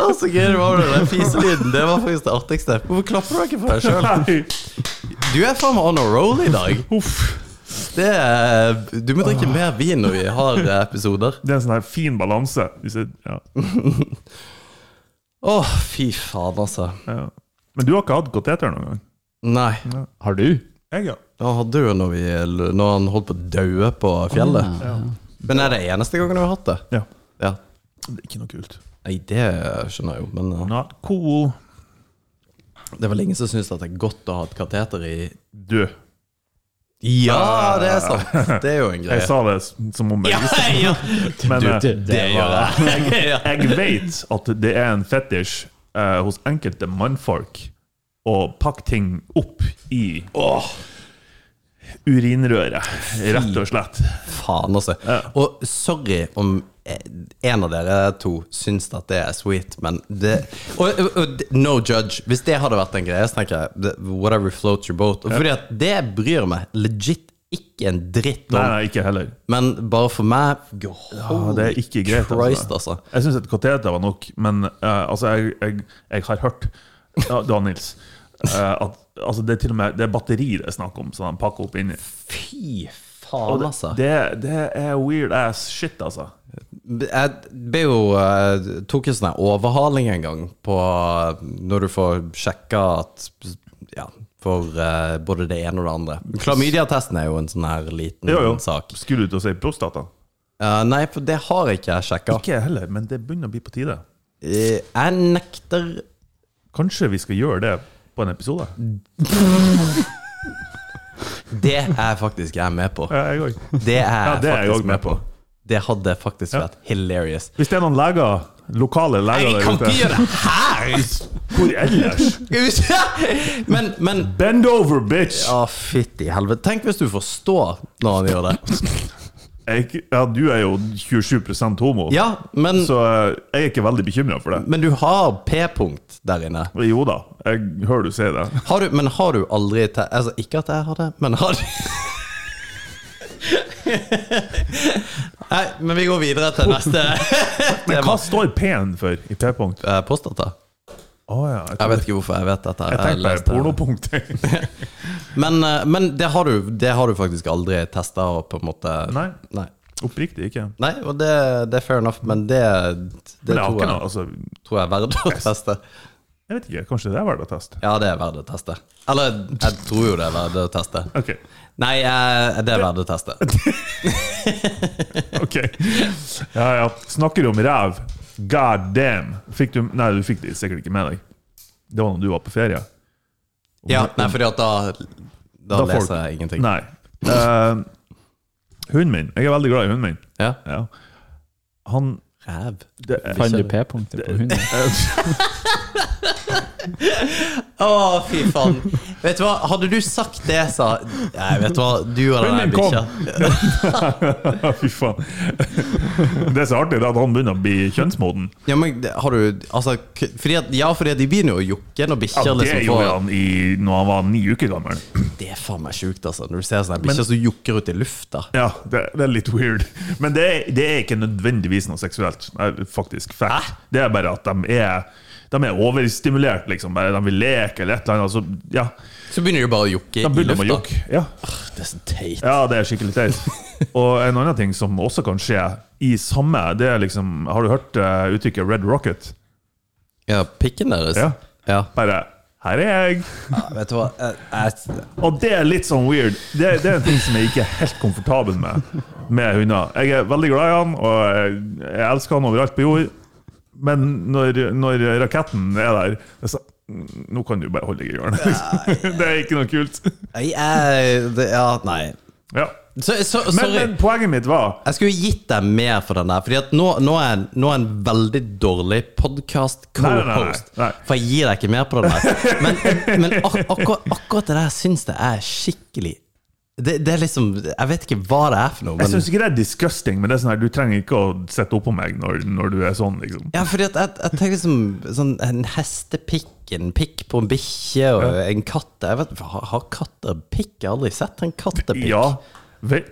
[SPEAKER 2] Og så gøy det var med den fiselyden. Det var faktisk det artigste. Hvorfor klapper du ikke for deg sjøl?
[SPEAKER 3] Nei.
[SPEAKER 2] Du er faen meg on a roll i dag.
[SPEAKER 3] Uff.
[SPEAKER 2] Det er, du må drikke mer vin når vi har episoder.
[SPEAKER 3] Det er en sånn her fin balanse. Disse- Ja,
[SPEAKER 2] Å, fy faen, altså.
[SPEAKER 3] ja. Men du har ikke hatt kateter noen gang?
[SPEAKER 2] Nei.
[SPEAKER 4] Har du?
[SPEAKER 3] Jeg, ja.
[SPEAKER 2] Han hadde jo når, vi, når han holdt på å daue på fjellet. Men er det eneste gangen du har hatt det?
[SPEAKER 3] ja.
[SPEAKER 2] Ja.
[SPEAKER 3] Det er ikke noe kult.
[SPEAKER 2] Nei, det skjønner jeg jo, men uh,
[SPEAKER 3] Not cool.
[SPEAKER 2] det er vel ingen som syns at det er godt å ha et kateter i
[SPEAKER 3] Du,
[SPEAKER 2] Ja, det er sant! Det er jo en
[SPEAKER 3] jeg
[SPEAKER 2] greie.
[SPEAKER 3] sa det s- som om jeg
[SPEAKER 2] Ja,
[SPEAKER 3] visste
[SPEAKER 2] ja.
[SPEAKER 3] Men eh,
[SPEAKER 4] Det,
[SPEAKER 2] Det gjør
[SPEAKER 4] var,
[SPEAKER 2] jeg. Ja.
[SPEAKER 3] jeg vet at det er en fetisj eh, hos enkelte mannfolk å pakke ting opp i
[SPEAKER 2] Åh,
[SPEAKER 3] urinrøret, rett og slett.
[SPEAKER 2] Faen, altså. Og sorry om eh, en av dere to syns at det er sweet, men det og, og, og d- no judge. Hvis det hadde vært en greie, så tenker jeg det- whatever floats your boat. Og fordi at det bryr meg legit ikke en dritt om.
[SPEAKER 3] Nei, nei, ikke heller.
[SPEAKER 2] Men bare for meg
[SPEAKER 3] Ja, det er ikke greit.
[SPEAKER 2] Christ, altså.
[SPEAKER 3] Jeg syns et kateter var nok, men eh, altså, jeg, jeg, jeg har hørt ja, Du har Nils. eh, at altså, det er til og med Det er batteri det er snakk om, som de pakker opp inni.
[SPEAKER 2] Fy
[SPEAKER 3] Og
[SPEAKER 2] faen,
[SPEAKER 3] det,
[SPEAKER 2] altså.
[SPEAKER 3] det, det er weird ass shit, altså.
[SPEAKER 2] Jeg ble jo, eh, tok en sånn her overhaling en gang på når du får sjekka at Ja, for eh, både det ene og det andre. Klamydiatesten er jo en sånn her liten
[SPEAKER 3] Jo, jo.
[SPEAKER 2] sak.
[SPEAKER 3] Skulle du til å si prostata?
[SPEAKER 2] Eh, nei, for det har ikke jeg sjekka.
[SPEAKER 3] Ikke jeg heller, men det begynner å bli på tide.
[SPEAKER 2] Eh, jeg nekter
[SPEAKER 3] Kanskje vi skal gjøre det på en episode?
[SPEAKER 2] Det er faktisk jeg med på.
[SPEAKER 3] Ja, Eh, jeg òg.
[SPEAKER 2] Det er jeg
[SPEAKER 3] Ja, det er jeg
[SPEAKER 2] faktisk
[SPEAKER 3] også
[SPEAKER 2] med
[SPEAKER 3] med
[SPEAKER 2] på. Det hadde faktisk vært hilarious.
[SPEAKER 3] Hvis det er noen leger, lokale leger
[SPEAKER 2] Jeg kan ikke gjøre det her!
[SPEAKER 3] Hvor ellers?
[SPEAKER 2] Men, men
[SPEAKER 3] Bend over, bitch!
[SPEAKER 2] Å, fytti helvete. Tenk hvis du forstår når han gjør det.
[SPEAKER 3] Jeg, ja, du er jo 27 homo,
[SPEAKER 2] Ja, men,
[SPEAKER 3] så eh, jeg er ikke veldig bekymra for det.
[SPEAKER 2] men du har p-punkt der inne.
[SPEAKER 3] Jo da, jeg hører du sier det.
[SPEAKER 2] Har du, men har du aldri te Altså, ikke at jeg har det, men har du Nei, men vi går videre til neste
[SPEAKER 3] Men
[SPEAKER 2] tema.
[SPEAKER 3] hva står P-en for i P-punkt?
[SPEAKER 2] Eh, Prostata.
[SPEAKER 3] Å ja, jeg,
[SPEAKER 2] Jeg
[SPEAKER 3] tror-
[SPEAKER 2] vet ikke hvorfor jeg vet dette. her.
[SPEAKER 3] jeg tenkte
[SPEAKER 2] leste-
[SPEAKER 3] på pornopunkt.
[SPEAKER 2] Men, eh, men det, har du, det har du faktisk aldri testa og på en måte
[SPEAKER 3] Nei.
[SPEAKER 2] Nei.
[SPEAKER 3] Oppriktig ikke.
[SPEAKER 2] Nei, og det, det er fair enough, men det, det
[SPEAKER 3] Men jeg har
[SPEAKER 2] tror,
[SPEAKER 3] ikke noe,
[SPEAKER 2] jeg,
[SPEAKER 3] altså,
[SPEAKER 2] tror jeg er verdt å teste.
[SPEAKER 3] jeg vet ikke, kanskje det er verdt å teste?
[SPEAKER 2] Ja, det er verdt å teste. Eller, jeg tror jo det er verdt å teste.
[SPEAKER 3] Ok.
[SPEAKER 2] Nei, eh, det er verdt å teste.
[SPEAKER 3] ok. Ja, ja. Snakker du om ræv? God damn! Fikk du Nei, du fikk det sikkert ikke med deg. Det var når du var på ferie.
[SPEAKER 2] Ja, nei, fordi at da Da,
[SPEAKER 3] Da får
[SPEAKER 2] leser
[SPEAKER 3] du-
[SPEAKER 2] jeg ingenting.
[SPEAKER 3] Nei. Eh, hunden min Jeg er veldig glad i hunden min.
[SPEAKER 2] Ja.
[SPEAKER 3] Ja. Han
[SPEAKER 2] Ræv.
[SPEAKER 3] det, er-
[SPEAKER 4] Fant du p-punktet på hunden?
[SPEAKER 2] Å, fy faen. Vet du hva, hadde du sagt det, sa Nei, vet du hva, du og den der
[SPEAKER 3] Hunden kom!
[SPEAKER 2] bikkja
[SPEAKER 3] Fy faen. Det er så artig det er at han begynner å bli kjønnsmoden.
[SPEAKER 2] Ja, men det- har du Altså, k- fordi at, ja, fordi at de begynner jo å jokke når
[SPEAKER 3] Ja,
[SPEAKER 2] bikkjer
[SPEAKER 3] det
[SPEAKER 2] liksom
[SPEAKER 3] gjorde
[SPEAKER 2] får
[SPEAKER 3] han i, når han var ni uker gammel.
[SPEAKER 2] Det er faen meg sjukt, altså. Når du ser sånne bikkjer som jokker ut i lufta.
[SPEAKER 3] Ja, det, det er litt weird. Men det, er- det er ikke nødvendigvis noe seksuelt. Nei, faktisk fact. Det er bare at de er de er overstimulert, liksom. Bare de vil leke eller et eller annet. Så, ja,
[SPEAKER 2] Så begynner de bare å jokke i
[SPEAKER 3] de begynner
[SPEAKER 2] lufta.
[SPEAKER 3] med jokk. Ja.
[SPEAKER 2] Det er så teit.
[SPEAKER 3] Ja, det er skikkelig teit. Og en annen ting som også kan skje i samme, det er liksom Har du hørt eh, uttrykket 'red rocket'?
[SPEAKER 2] Ja, pikken deres.
[SPEAKER 3] Ja.
[SPEAKER 2] ja.
[SPEAKER 3] Bare 'her er jeg'.
[SPEAKER 2] Vet du hva, jeg, jeg
[SPEAKER 3] Og det er litt sånn weird. Det, det er en ting som jeg ikke er helt komfortabel med med hunder. Jeg er veldig glad i han, og jeg, jeg elsker han overalt på jord. Men når, når raketten er der det er så, Nå kan du bare holde deg i hjørnet. liksom. Det er ikke noe kult.
[SPEAKER 2] Jeg er det- Ja, nei.
[SPEAKER 3] Ja.
[SPEAKER 2] Så, så,
[SPEAKER 3] Men,
[SPEAKER 2] sorry.
[SPEAKER 3] men poenget mitt var
[SPEAKER 2] Jeg skulle gitt deg mer for den der, Fordi at nå, nå, er, nå er en veldig dårlig podcast
[SPEAKER 3] Nei, nei, nei,
[SPEAKER 2] co-host.
[SPEAKER 3] nei, nei.
[SPEAKER 2] For jeg gir deg ikke mer på den der. Men, men ak akkurat, akkurat det der syns jeg er skikkelig det, det er liksom Jeg vet ikke hva det er for noe.
[SPEAKER 3] Jeg
[SPEAKER 2] Men,
[SPEAKER 3] syns ikke det er disgusting, men det er sånn her, du trenger ikke å sitte oppå meg når, når du er sånn, liksom.
[SPEAKER 2] ja, fordi at jeg, jeg tenker liksom sånn en hestepikk, en pikk på en bikkje og en katt Jeg vet, Har, har katter pikk? Jeg har aldri sett en kattepikk.
[SPEAKER 3] Ja. Ve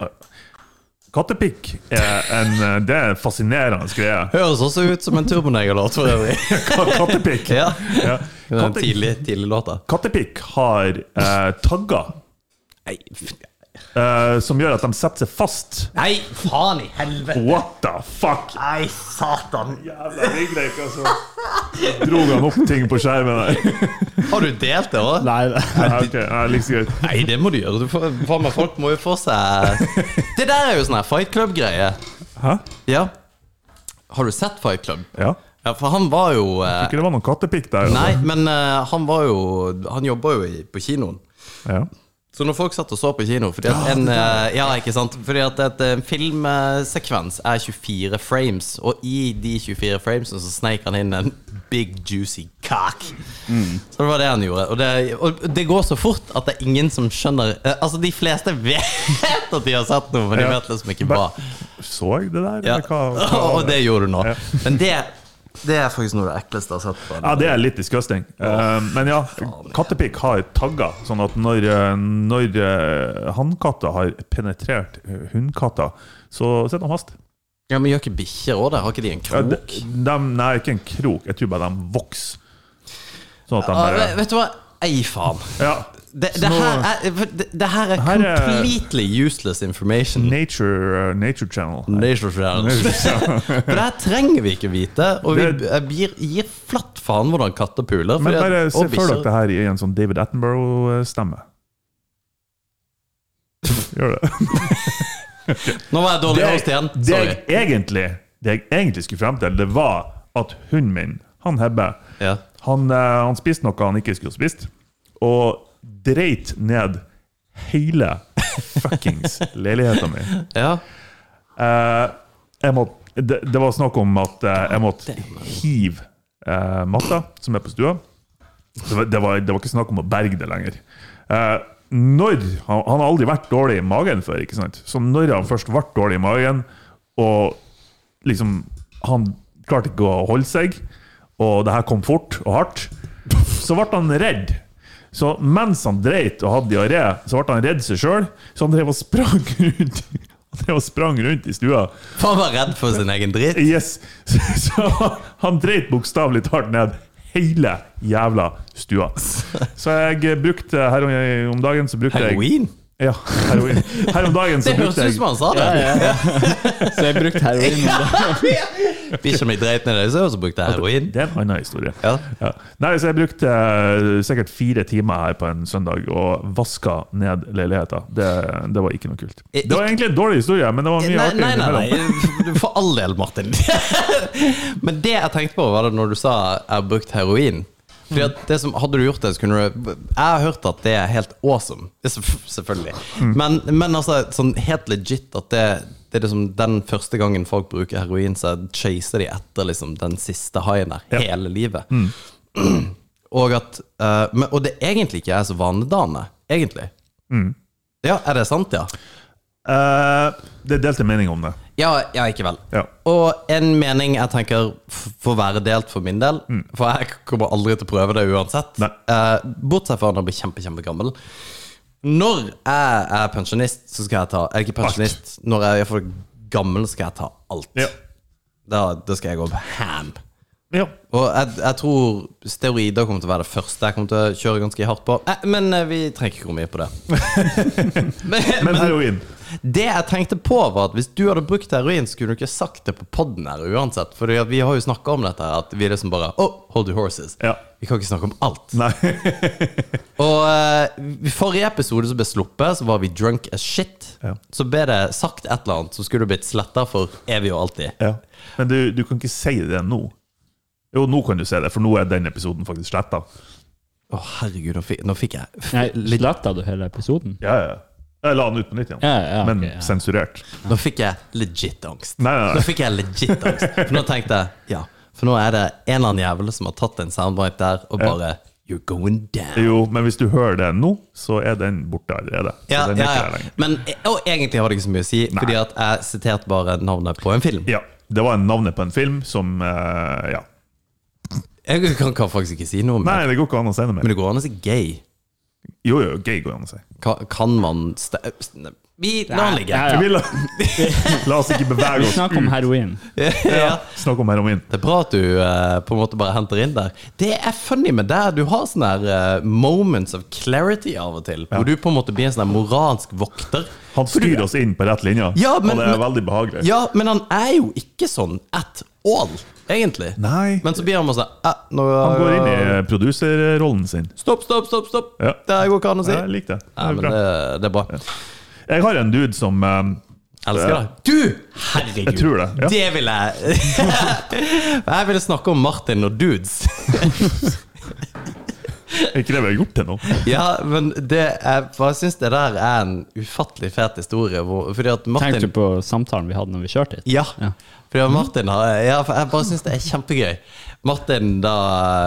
[SPEAKER 3] Kattepikk er en eh, Det er en fascinerende greie.
[SPEAKER 2] Høres også ut som en turbonegerlåt for øvrig.
[SPEAKER 3] Kattepikk.
[SPEAKER 2] ja. Den
[SPEAKER 3] Ja. Katte,
[SPEAKER 2] tidlig, tidlig låta.
[SPEAKER 3] kattepikk har eh, tagger
[SPEAKER 2] Nei,
[SPEAKER 3] eh, som gjør at de setter seg fast.
[SPEAKER 2] faen i helvete!
[SPEAKER 3] What the fuck?
[SPEAKER 2] Nei, satan!
[SPEAKER 3] Jævla ryggdekk, altså. Dro han opp ting på skjermen der?
[SPEAKER 2] Har du delt det òg?
[SPEAKER 4] Nei, det
[SPEAKER 3] Ja, ok, ja, like så greit.
[SPEAKER 2] Nei, det må du gjøre. Du får, faen meg, folk må jo få seg Det der er jo sånn her Fight Club-greie.
[SPEAKER 3] Hæ?
[SPEAKER 2] Ja. Har du sett Fight Club?
[SPEAKER 3] Ja.
[SPEAKER 2] Ja, for han var jo eh,
[SPEAKER 3] Ikke det var noen kattepikk der? altså.
[SPEAKER 2] Nei, men eh, han var jo Han jobba jo i, på kinoen.
[SPEAKER 3] Ja.
[SPEAKER 2] Så når folk satt og så på kino fordi at en, eh, ja, ikke sant? Fordi at et, en filmsekvens er 24 frames, og i de 24 framesene så sneik han inn en big juicy cock.
[SPEAKER 3] Mm.
[SPEAKER 2] Så det var det han gjorde. Og det, og det går så fort at det er ingen som skjønner eh, Altså, de fleste vet at de har sett noe, men de
[SPEAKER 3] Ja.
[SPEAKER 2] vet liksom ikke hva.
[SPEAKER 3] Så jeg det der?
[SPEAKER 2] Ja.
[SPEAKER 3] eller Hva, hva?
[SPEAKER 2] Og det gjorde du nå.
[SPEAKER 3] Ja.
[SPEAKER 2] Men det, det er faktisk noe av det ekleste jeg har sett. på
[SPEAKER 3] Ja, det er litt disgusting. Eh, men ja, kattepikk har tagger, sånn at når, eh, når eh, hannkatter har penetrert eh, hunnkatter, så sitter de fast.
[SPEAKER 2] Ja, Men gjør ikke bikkjer òg det? Har ikke de en
[SPEAKER 3] Ja, de,
[SPEAKER 2] krok?
[SPEAKER 3] de, nei, ikke en krok. Jeg tror bare de vokser. Sånn at
[SPEAKER 2] Ja,
[SPEAKER 3] de bare
[SPEAKER 2] vet- Ah, vet du hva? Ei faen.
[SPEAKER 3] Ja.
[SPEAKER 2] Det,
[SPEAKER 3] Så
[SPEAKER 2] det,
[SPEAKER 3] nå-
[SPEAKER 2] her er, for det, det her er
[SPEAKER 3] Her er-
[SPEAKER 2] completely useless information.
[SPEAKER 3] Nature, eh, Nature Channel.
[SPEAKER 2] Nature Channel. For det her trenger vi ikke vite, og vi
[SPEAKER 3] Det-
[SPEAKER 2] jeg gir, gir flatt faen hvordan katter puler.
[SPEAKER 3] Men
[SPEAKER 2] fordi at-
[SPEAKER 3] bare se
[SPEAKER 2] og
[SPEAKER 3] for dere
[SPEAKER 2] bikkjer.
[SPEAKER 3] det her i en sånn David Attenborough-stemme. Gjør det.
[SPEAKER 2] Nå var jeg dårlig host igjen.
[SPEAKER 3] det
[SPEAKER 2] Sorry.
[SPEAKER 3] jeg egentlig, det jeg egentlig skulle frem til, det var at hunden min, han Hebbe,
[SPEAKER 2] Ja.
[SPEAKER 3] han, eh, han spiste noe han ikke skulle ha spist, og dreit ned hele fuckings leiligheten min.
[SPEAKER 2] Ja.
[SPEAKER 3] Eh, jeg må, det, det var snakk om at eh, jeg måtte hive eh, matta som er på stua. Det var, det, var, det var ikke snakk om å berge det lenger. Eh, når, han, han har aldri vært dårlig i magen før, ikke sant? så når han først ble dårlig i magen, og liksom Han klarte ikke å holde seg, og det her kom fort og hardt, så ble han redd. Så mens han dreit og hadde diaré, så ble han redd seg sjøl, så han drev og sprang rundt. Han drev og sprang rundt i stua.
[SPEAKER 2] Faen var redd for sin egen dritt.
[SPEAKER 3] Yes. Så, så han dreit bokstavelig talt ned hele jævla stua. Så jeg brukte her om, om dagen så brukte jeg
[SPEAKER 2] Halloween?
[SPEAKER 3] Ja, heroin. Her om dagen så
[SPEAKER 2] Det høres
[SPEAKER 3] brukte
[SPEAKER 2] ut som
[SPEAKER 3] jeg
[SPEAKER 2] han sa det.
[SPEAKER 4] Ja, ja, ja. Så jeg brukte heroin.
[SPEAKER 2] Bikkja mi dreit ned i seg, og så brukte jeg heroin.
[SPEAKER 3] Det er en annen historie.
[SPEAKER 2] Ja.
[SPEAKER 3] Ja. Nei, så jeg brukte eh, sikkert fire timer her på en søndag og vaska ned leiligheta. Det, det var ikke noe kult.
[SPEAKER 2] I-
[SPEAKER 3] Det var egentlig en dårlig historie, men det var mye
[SPEAKER 2] Eh, Nei,
[SPEAKER 3] artig
[SPEAKER 2] nei, nei,
[SPEAKER 3] innimellom.
[SPEAKER 2] nei. For all del, Martin. Men det jeg tenkte på, var det når du sa 'jeg har brukt heroin'. Fordi at det som, hadde du gjort det, så kunne du Jeg har hørt at det er helt awesome. Det er selvf- Selvfølgelig.
[SPEAKER 3] Mm.
[SPEAKER 2] Men, men altså, sånn helt legit at det, det er liksom den første gangen folk bruker heroin, så chaser de etter liksom den siste haien der
[SPEAKER 3] Ja. Mm.
[SPEAKER 2] hele livet. Og at eh, men, Og det egentlig ikke er så vanedannende, egentlig.
[SPEAKER 3] Mm.
[SPEAKER 2] Ja, er det sant, ja?
[SPEAKER 3] Eh, det er delte meninger om det.
[SPEAKER 2] Ja, ja, ikke vel.
[SPEAKER 3] Ja.
[SPEAKER 2] Og en mening jeg tenker f- får være delt for min del, for jeg kommer aldri til å prøve det uansett.
[SPEAKER 3] Mm. Nei.
[SPEAKER 2] Eh, bortsett fra når jeg blir kjempe, kjempegammel. Når jeg er pensjonist, så skal jeg ta Er ikke pensjonist, når jeg er for gammel, så skal jeg ta alt.
[SPEAKER 3] Ja.
[SPEAKER 2] Da, da skal jeg gå ham.
[SPEAKER 3] ja.
[SPEAKER 2] Og jeg, jeg tror steroider kommer til å være det første jeg kommer til å kjøre ganske hardt på. Eh, men eh, vi trenger ikke gå mye på det. men,
[SPEAKER 3] Men heroin.
[SPEAKER 2] det jeg tenkte på var at Hvis du hadde brukt heroin, så kunne du ikke sagt det på podden her uansett. For vi har jo snakka om dette her, at vi liksom bare Oh, hold your horses.
[SPEAKER 3] Ja.
[SPEAKER 2] Vi kan ikke snakke om alt.
[SPEAKER 3] Nei.
[SPEAKER 2] Og eh, i forrige episode som ble sluppet, så var vi drunk as shit.
[SPEAKER 3] Ja.
[SPEAKER 2] Så ble det sagt et eller annet som skulle blitt sletta for evig og alltid.
[SPEAKER 3] Ja. Men du, du kan ikke si det nå. Jo, nå kan du si det, for nå er den episoden faktisk sletta.
[SPEAKER 2] Å, herregud, nå fikk, nå fikk jeg f-
[SPEAKER 4] Nei, Sletta du hele episoden?
[SPEAKER 3] Ja, ja. Jeg la den ut på nytt igjen,
[SPEAKER 4] Ja, ja, ok,
[SPEAKER 3] men
[SPEAKER 4] ja.
[SPEAKER 3] sensurert.
[SPEAKER 2] Nå fikk jeg legit angst.
[SPEAKER 3] Nei, nei, nei.
[SPEAKER 2] Nå fikk jeg legit angst. For nå tenkte jeg Ja, for nå er det en eller annen jævel som har tatt en soundbite der og bare You're going down.
[SPEAKER 3] Jo, men hvis du hører det nå, så er den borte allerede. Så
[SPEAKER 2] Ja,
[SPEAKER 3] den er
[SPEAKER 2] ja,
[SPEAKER 3] ikke der
[SPEAKER 2] ja.
[SPEAKER 3] lenger.
[SPEAKER 2] Men, og egentlig har det ikke så mye å si, fordi at jeg siterte bare navnet på en film.
[SPEAKER 3] Ja, det var navnet på en film som eh, Ja.
[SPEAKER 2] Jeg kan, kan faktisk ikke si noe om det.
[SPEAKER 3] Nei, det går ikke an å si noe
[SPEAKER 2] Men
[SPEAKER 3] mer.
[SPEAKER 2] det går an å si gay.
[SPEAKER 3] Jo, jo, gay går an å si.
[SPEAKER 2] Kan, kan man st st- Vi lar den ligge.
[SPEAKER 4] Ja,
[SPEAKER 3] Vi
[SPEAKER 4] ja.
[SPEAKER 3] la, la oss ikke bevege
[SPEAKER 4] Vi
[SPEAKER 3] oss
[SPEAKER 4] snakker om
[SPEAKER 3] ut.
[SPEAKER 4] heroin.
[SPEAKER 2] Ja.
[SPEAKER 3] Snakk om heroin.
[SPEAKER 2] Det er bra at du eh, på en måte bare henter inn der. Det er funny med deg. Du har sånne her, eh, moments of clarity av og til. Hvor du på en måte blir en sånn her moralsk vokter.
[SPEAKER 3] Han styrer oss inn på rett linje,
[SPEAKER 2] Ja, men-
[SPEAKER 3] og det er
[SPEAKER 2] men-
[SPEAKER 3] veldig behagelig.
[SPEAKER 2] Ja, men han er jo ikke sånn at all, egentlig.
[SPEAKER 3] Nei.
[SPEAKER 2] Men så blir han bare sånn eh, nå,
[SPEAKER 3] Han går inn i eh, produserrollen sin.
[SPEAKER 2] Stopp, stopp, stopp! stopp
[SPEAKER 3] Ja.
[SPEAKER 2] Det her går ikke an å si.
[SPEAKER 3] Jeg liker det. det,
[SPEAKER 2] Nei,
[SPEAKER 3] er
[SPEAKER 2] men
[SPEAKER 3] bra.
[SPEAKER 2] det, det er bra.
[SPEAKER 3] Jeg har en dude som eh,
[SPEAKER 2] Elsker deg. Du! Herregud!
[SPEAKER 3] Jeg tror det, ja.
[SPEAKER 2] Det vil jeg Jeg ville snakke om Martin og dudes.
[SPEAKER 3] Er ikke det vi har gjort til nå?
[SPEAKER 2] Ja, men det er, for jeg syns det der er en ufattelig fet historie. Hvor, fordi at Martin
[SPEAKER 4] Tenkte du på samtalen vi hadde når vi kjørte hit?
[SPEAKER 2] Ja. Fordi at Martin har, ja, for jeg bare syns det er kjempegøy. Martin, da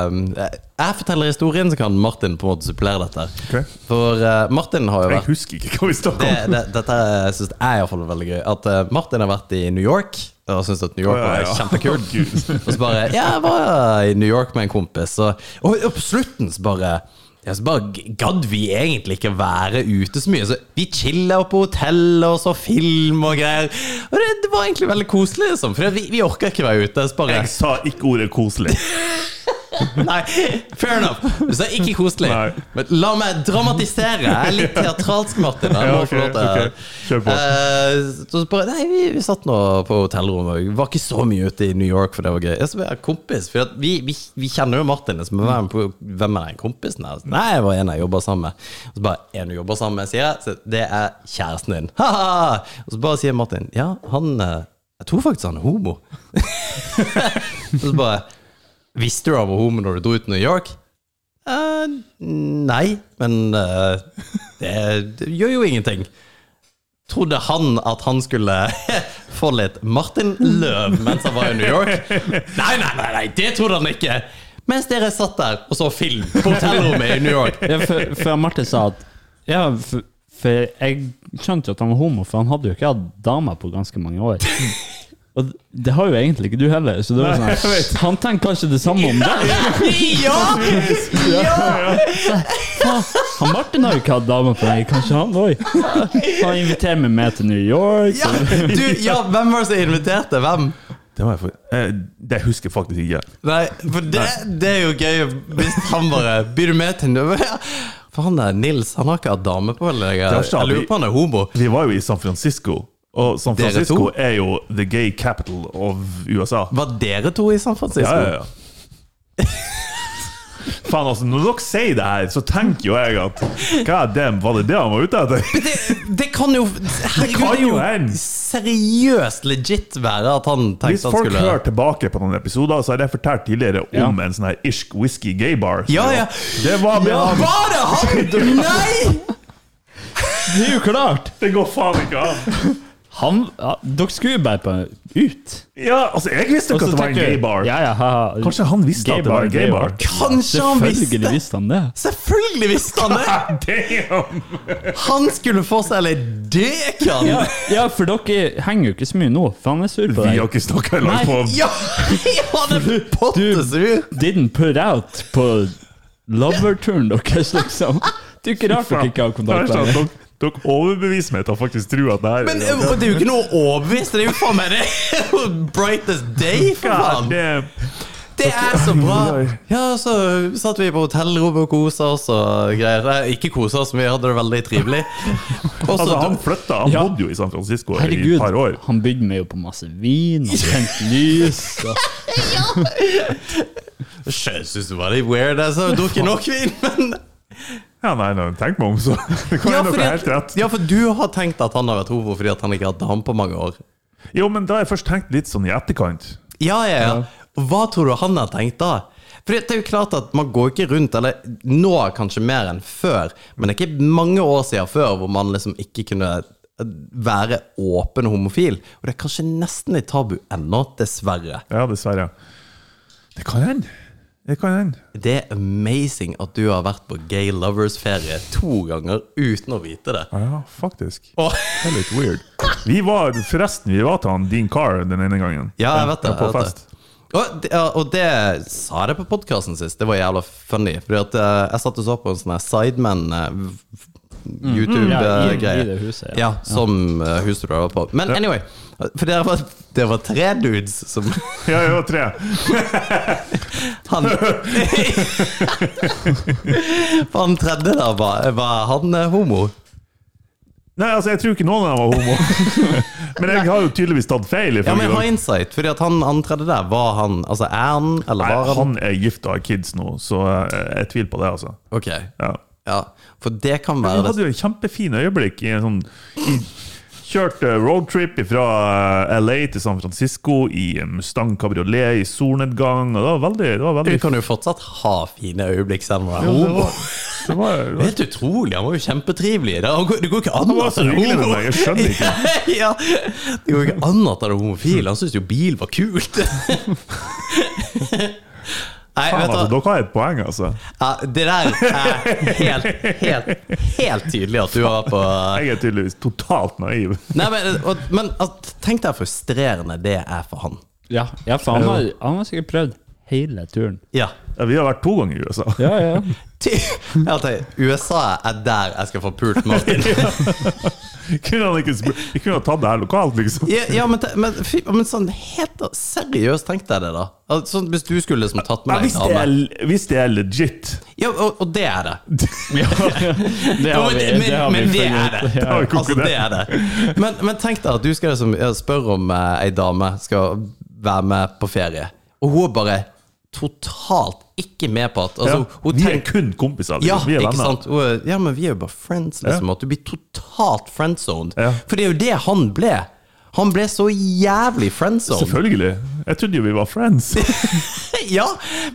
[SPEAKER 2] eh, Jeg forteller historien, så kan Martin på en måte supplere dette.
[SPEAKER 3] Ok.
[SPEAKER 2] For eh, Martin har jo
[SPEAKER 3] Jeg
[SPEAKER 2] vært
[SPEAKER 3] husker ikke hva vi snakket
[SPEAKER 2] det,
[SPEAKER 3] om.
[SPEAKER 2] det, Dette syns jeg iallfall er veldig gøy. At eh, Martin har vært i New York og syns at New York
[SPEAKER 3] Å, ja,
[SPEAKER 2] var
[SPEAKER 3] ja.
[SPEAKER 2] kjempekult.
[SPEAKER 3] Gud.
[SPEAKER 2] Og så bare Ja, jeg var i New York med en kompis, og, og på slutten så bare ja, så bare g- gadd vi egentlig ikke være ute så mye. Så vi chilla på hotellet og så film og greier. Og det, det var egentlig veldig koselig, liksom. For vi, vi orka ikke være ute. Så bare
[SPEAKER 3] Jeg sa ikke ordet koselig.
[SPEAKER 2] Nei, fair enough. Du sa ikke koselig.
[SPEAKER 3] Nei.
[SPEAKER 2] Men la meg dramatisere. Jeg er litt teatralsk, Martin. Jeg
[SPEAKER 3] Ja,
[SPEAKER 2] må
[SPEAKER 3] ok,
[SPEAKER 2] få lov til
[SPEAKER 3] ok. Kjør på.
[SPEAKER 2] Eh, så bare, nei, vi, vi satt nå på hotellrommet. og Var ikke så mye ute i New York, for det var gøy. Jeg som er kompis, for at vi, vi, vi kjenner jo Martin. Som, hvem, på- hvem er den kompisen her? Så, Nei, det var en jeg jobber sammen med. Og så bare, en du jobber sammen med, sier jeg. Så det er kjæresten din. Ha-ha! Og så bare sier Martin, ja, han eh, Jeg tror faktisk han er homo. Og så bare Visste du han var homo når du dro ut til New York? Eh, nei, men eh, det, det gjør jo ingenting. Trodde han at han skulle få litt Martin Løv mens han var i New York? Nei, nei, nei, nei det trodde han ikke! Mens dere satt der og så film på hotellrommet i New York.
[SPEAKER 4] Ja, for, for Martin sa at Ja, for, for jeg skjønte jo at han var homo, for han hadde jo ikke hatt dame på ganske mange år. Og det har jo egentlig ikke du heller, så det var
[SPEAKER 3] Nei, jeg
[SPEAKER 4] sånn
[SPEAKER 3] vet.
[SPEAKER 4] Han tenker kanskje det samme om deg.
[SPEAKER 2] Ja! ja!
[SPEAKER 4] Han Martin har jo ikke hatt dame på deg, kanskje han òg? Han inviterer meg med til New York.
[SPEAKER 2] ja.
[SPEAKER 4] så-
[SPEAKER 2] Du, ja hvem var det som inviterte? Hvem?
[SPEAKER 3] Det, må jeg få- eh, det husker jeg faktisk ikke.
[SPEAKER 2] Nei, for det, det er jo gøy hvis han bare Byr du med til noe? For han der Nils, han har ikke hatt dame på veldig lenge.
[SPEAKER 3] Det er ikke
[SPEAKER 2] Jeg lurer på han er homo.
[SPEAKER 3] Vi var jo i San Francisco, og San
[SPEAKER 2] Dere to?
[SPEAKER 3] Francisco er jo the gay capital of USA.
[SPEAKER 2] Var dere to i San Francisco?
[SPEAKER 3] Ja, ja, ja. Faen, altså, når dere sier det her, så tenker jo jeg at God damn, var det det han var ute etter?
[SPEAKER 2] Det, det kan jo Herregud,
[SPEAKER 3] kan jo hende.
[SPEAKER 2] seriøst legit være at han
[SPEAKER 3] Hvis
[SPEAKER 2] tenkte han
[SPEAKER 3] folk
[SPEAKER 2] skulle
[SPEAKER 3] hører tilbake på noen episoder, så har jeg fortalt tidligere om en sånn her irsk whisky gay bar.
[SPEAKER 2] Ja, ja.
[SPEAKER 3] Det var med han.
[SPEAKER 2] Var det han?! Nei!
[SPEAKER 4] Det er jo klart!
[SPEAKER 3] Det går faen ikke an.
[SPEAKER 4] Han, ja, dere skulle jo bare på ut.
[SPEAKER 3] Ja, altså, jeg visste
[SPEAKER 4] Og
[SPEAKER 3] ikke at
[SPEAKER 4] så
[SPEAKER 3] det var en
[SPEAKER 4] tenker jeg,
[SPEAKER 3] gay bar.
[SPEAKER 4] Ja, ja, ha, ha.
[SPEAKER 3] Kanskje han visste at det var en gay bar.
[SPEAKER 2] Kanskje han
[SPEAKER 4] Selvfølgelig
[SPEAKER 2] visste
[SPEAKER 4] visste han det.
[SPEAKER 2] Selvfølgelig visste han det!
[SPEAKER 3] Damn!
[SPEAKER 2] Han skulle få seg litt dekan!
[SPEAKER 4] Ja, ja, for dere henger jo ikke så mye nå, for han er sur på
[SPEAKER 3] Vi har
[SPEAKER 4] deg.
[SPEAKER 3] ikke snakka i lag
[SPEAKER 4] Nei.
[SPEAKER 3] på
[SPEAKER 2] Ja, han er pottesur!
[SPEAKER 4] Didn't put out på loverturen deres, liksom. Det er jo ikke rart dere ikke har kontakt
[SPEAKER 3] Kanskje
[SPEAKER 4] med
[SPEAKER 3] at
[SPEAKER 4] hverandre.
[SPEAKER 3] Dere, dere overbeviser meg til å faktisk tro at det her
[SPEAKER 4] eh,
[SPEAKER 2] Men eh, og det er jo ikke noe overbevist. Det er jo faen meg det er jo brightest day, for
[SPEAKER 3] God
[SPEAKER 2] faen!
[SPEAKER 3] damn.
[SPEAKER 2] Det er så bra!
[SPEAKER 3] Oi, oi.
[SPEAKER 2] Ja, så satt vi på hotellrommet og kosa oss og greier. Nei, ikke kosa oss, men vi hadde det veldig trivelig. Og så
[SPEAKER 3] Altså, han flytta, han
[SPEAKER 4] Ja.
[SPEAKER 3] bodde jo i San Francisco i et par år.
[SPEAKER 4] Herregud, han bydde meg jo på masse vin og tent lys. Og,
[SPEAKER 2] Jeg synes det var litt weird. Jeg sa, drukket nok vin, men
[SPEAKER 3] Ja, nei, nei, tenk meg om, så det kan
[SPEAKER 2] ja
[SPEAKER 3] hende
[SPEAKER 2] fordi,
[SPEAKER 3] dere har helt
[SPEAKER 2] at,
[SPEAKER 3] rett.
[SPEAKER 2] ja, for du har tenkt at han har vært homo fordi at han ikke har hatt ham på mange år.
[SPEAKER 3] Jo, men da har jeg først tenkt litt sånn i etterkant.
[SPEAKER 2] Ja, ja, ja. Og Hva tror du han har tenkt da? For det er jo klart at man går ikke rundt, eller nå kanskje mer enn før, men det er ikke mange år siden før hvor man liksom ikke kunne eh, være åpen homofil. Og det er kanskje nesten litt tabu ennå, dessverre.
[SPEAKER 3] Ja, dessverre. Det kan hende. Det kan hende.
[SPEAKER 2] Det er amazing at du har vært på gay lovers-ferie to ganger uten å vite det.
[SPEAKER 3] Ja, faktisk.
[SPEAKER 2] Og,
[SPEAKER 3] Det er litt weird. Vi var, forresten, vi var til han Dean Carr den ene gangen.
[SPEAKER 2] ja, jeg vet det.
[SPEAKER 3] Ja, på
[SPEAKER 2] jeg vet
[SPEAKER 3] fest.
[SPEAKER 2] det. Og, det- ja, og det sa jeg det på podkasten sist, det var jævla funny. Fordi at eh, jeg satt og så på en sånn her Sideman eh, v-
[SPEAKER 4] ja, i- i
[SPEAKER 2] YouTube-greie.
[SPEAKER 4] det huset, ja.
[SPEAKER 2] ja, som eh, huset du var på. Men anyway, for det var, det var tre dudes som
[SPEAKER 3] Ja, jeg var tre.
[SPEAKER 2] Han Han tredje der, var, var han eh, homo?
[SPEAKER 3] Nei, altså, jeg tror ikke noen av dem var homo. Men jeg har jo tydeligvis tatt feil.
[SPEAKER 2] Ja, men
[SPEAKER 3] ifølge
[SPEAKER 2] jeg har
[SPEAKER 3] dere.
[SPEAKER 2] insight, fordi at han, han tredje der, var han Altså, er han, eller
[SPEAKER 3] Nei,
[SPEAKER 2] var han?
[SPEAKER 3] han er gift og har kids nå, så jeg, jeg tviler på det, altså.
[SPEAKER 2] Ok,
[SPEAKER 3] Ja.
[SPEAKER 2] ja. For det kan
[SPEAKER 3] Vi
[SPEAKER 2] være det
[SPEAKER 3] hadde jo et kjempefint øyeblikk i en sånn i Kjørte roadtrip fra LA til San Francisco i Mustang Cabriolet i solnedgang. Og det var veldig, det var
[SPEAKER 2] Du
[SPEAKER 3] veldig
[SPEAKER 2] kan jo fortsatt ha fine øyeblikk selv om du er
[SPEAKER 3] Ja, det
[SPEAKER 2] homo.
[SPEAKER 3] var, det var, det
[SPEAKER 2] Det er
[SPEAKER 3] var,
[SPEAKER 2] helt utrolig. Han var jo kjempetrivelig. Det går- det går ikke an
[SPEAKER 3] var
[SPEAKER 2] at
[SPEAKER 3] så
[SPEAKER 2] han er
[SPEAKER 3] hyggelig med
[SPEAKER 2] homo.
[SPEAKER 3] meg, jeg skjønner ikke.
[SPEAKER 2] ja, det går ikke an at han er homofil. Han syntes jo bil var kult. Nei,
[SPEAKER 3] faen, altså,
[SPEAKER 2] vet du hva?
[SPEAKER 3] dere har et poeng, altså.
[SPEAKER 2] Ja, det der er helt, helt, helt tydelig at du var på
[SPEAKER 3] Jeg er tydeligvis totalt naiv.
[SPEAKER 2] Nei, men, og- men at- tenk deg frustrerende det er for han.
[SPEAKER 4] Ja, ja for han har, han har sikkert prøvd hele turen.
[SPEAKER 2] Ja.
[SPEAKER 3] Ja, Vi har vært to ganger i USA.
[SPEAKER 4] Ja, ja.
[SPEAKER 2] Ty- Ja, tenk, USA er der jeg skal få pult Martin.
[SPEAKER 3] Kunne han ikke spurt- Vi kunne ha tatt det her lokalt, liksom.
[SPEAKER 2] Ja, ja men, te- men, fy- men sånn helt seriøst, tenk deg det, da. Altså, sånn, hvis du skulle liksom tatt
[SPEAKER 3] Ja,
[SPEAKER 2] med
[SPEAKER 3] hvis,
[SPEAKER 2] deg en
[SPEAKER 3] det
[SPEAKER 2] dame.
[SPEAKER 3] er, hvis det er legit
[SPEAKER 2] Ja, og, og det er det.
[SPEAKER 4] Det
[SPEAKER 2] Ja,
[SPEAKER 4] har
[SPEAKER 2] men
[SPEAKER 4] vi,
[SPEAKER 2] det, men,
[SPEAKER 4] det har vi
[SPEAKER 2] men det
[SPEAKER 4] funnet
[SPEAKER 2] er
[SPEAKER 4] ut.
[SPEAKER 2] det. Altså,
[SPEAKER 3] har vi
[SPEAKER 2] det er
[SPEAKER 3] konkludert.
[SPEAKER 2] det. Men, men tenk deg at du skal liksom, ja, spørre om eh, ei dame skal være med på ferie, og hun er bare totalt ikke med på at altså, hun
[SPEAKER 3] Vi er
[SPEAKER 2] tenker-
[SPEAKER 3] kun kompiser. Liksom.
[SPEAKER 2] Ja,
[SPEAKER 3] vi er
[SPEAKER 2] ikke
[SPEAKER 3] venner.
[SPEAKER 2] sant? Hun er- ja, men vi er jo bare friends, liksom.
[SPEAKER 3] Ja.
[SPEAKER 2] At du blir totalt friendzoned.
[SPEAKER 3] Ja.
[SPEAKER 2] For det er jo det han ble. Han ble så jævlig friendzoned.
[SPEAKER 3] Selvfølgelig. Jeg trodde jo vi var friends.
[SPEAKER 2] Ja,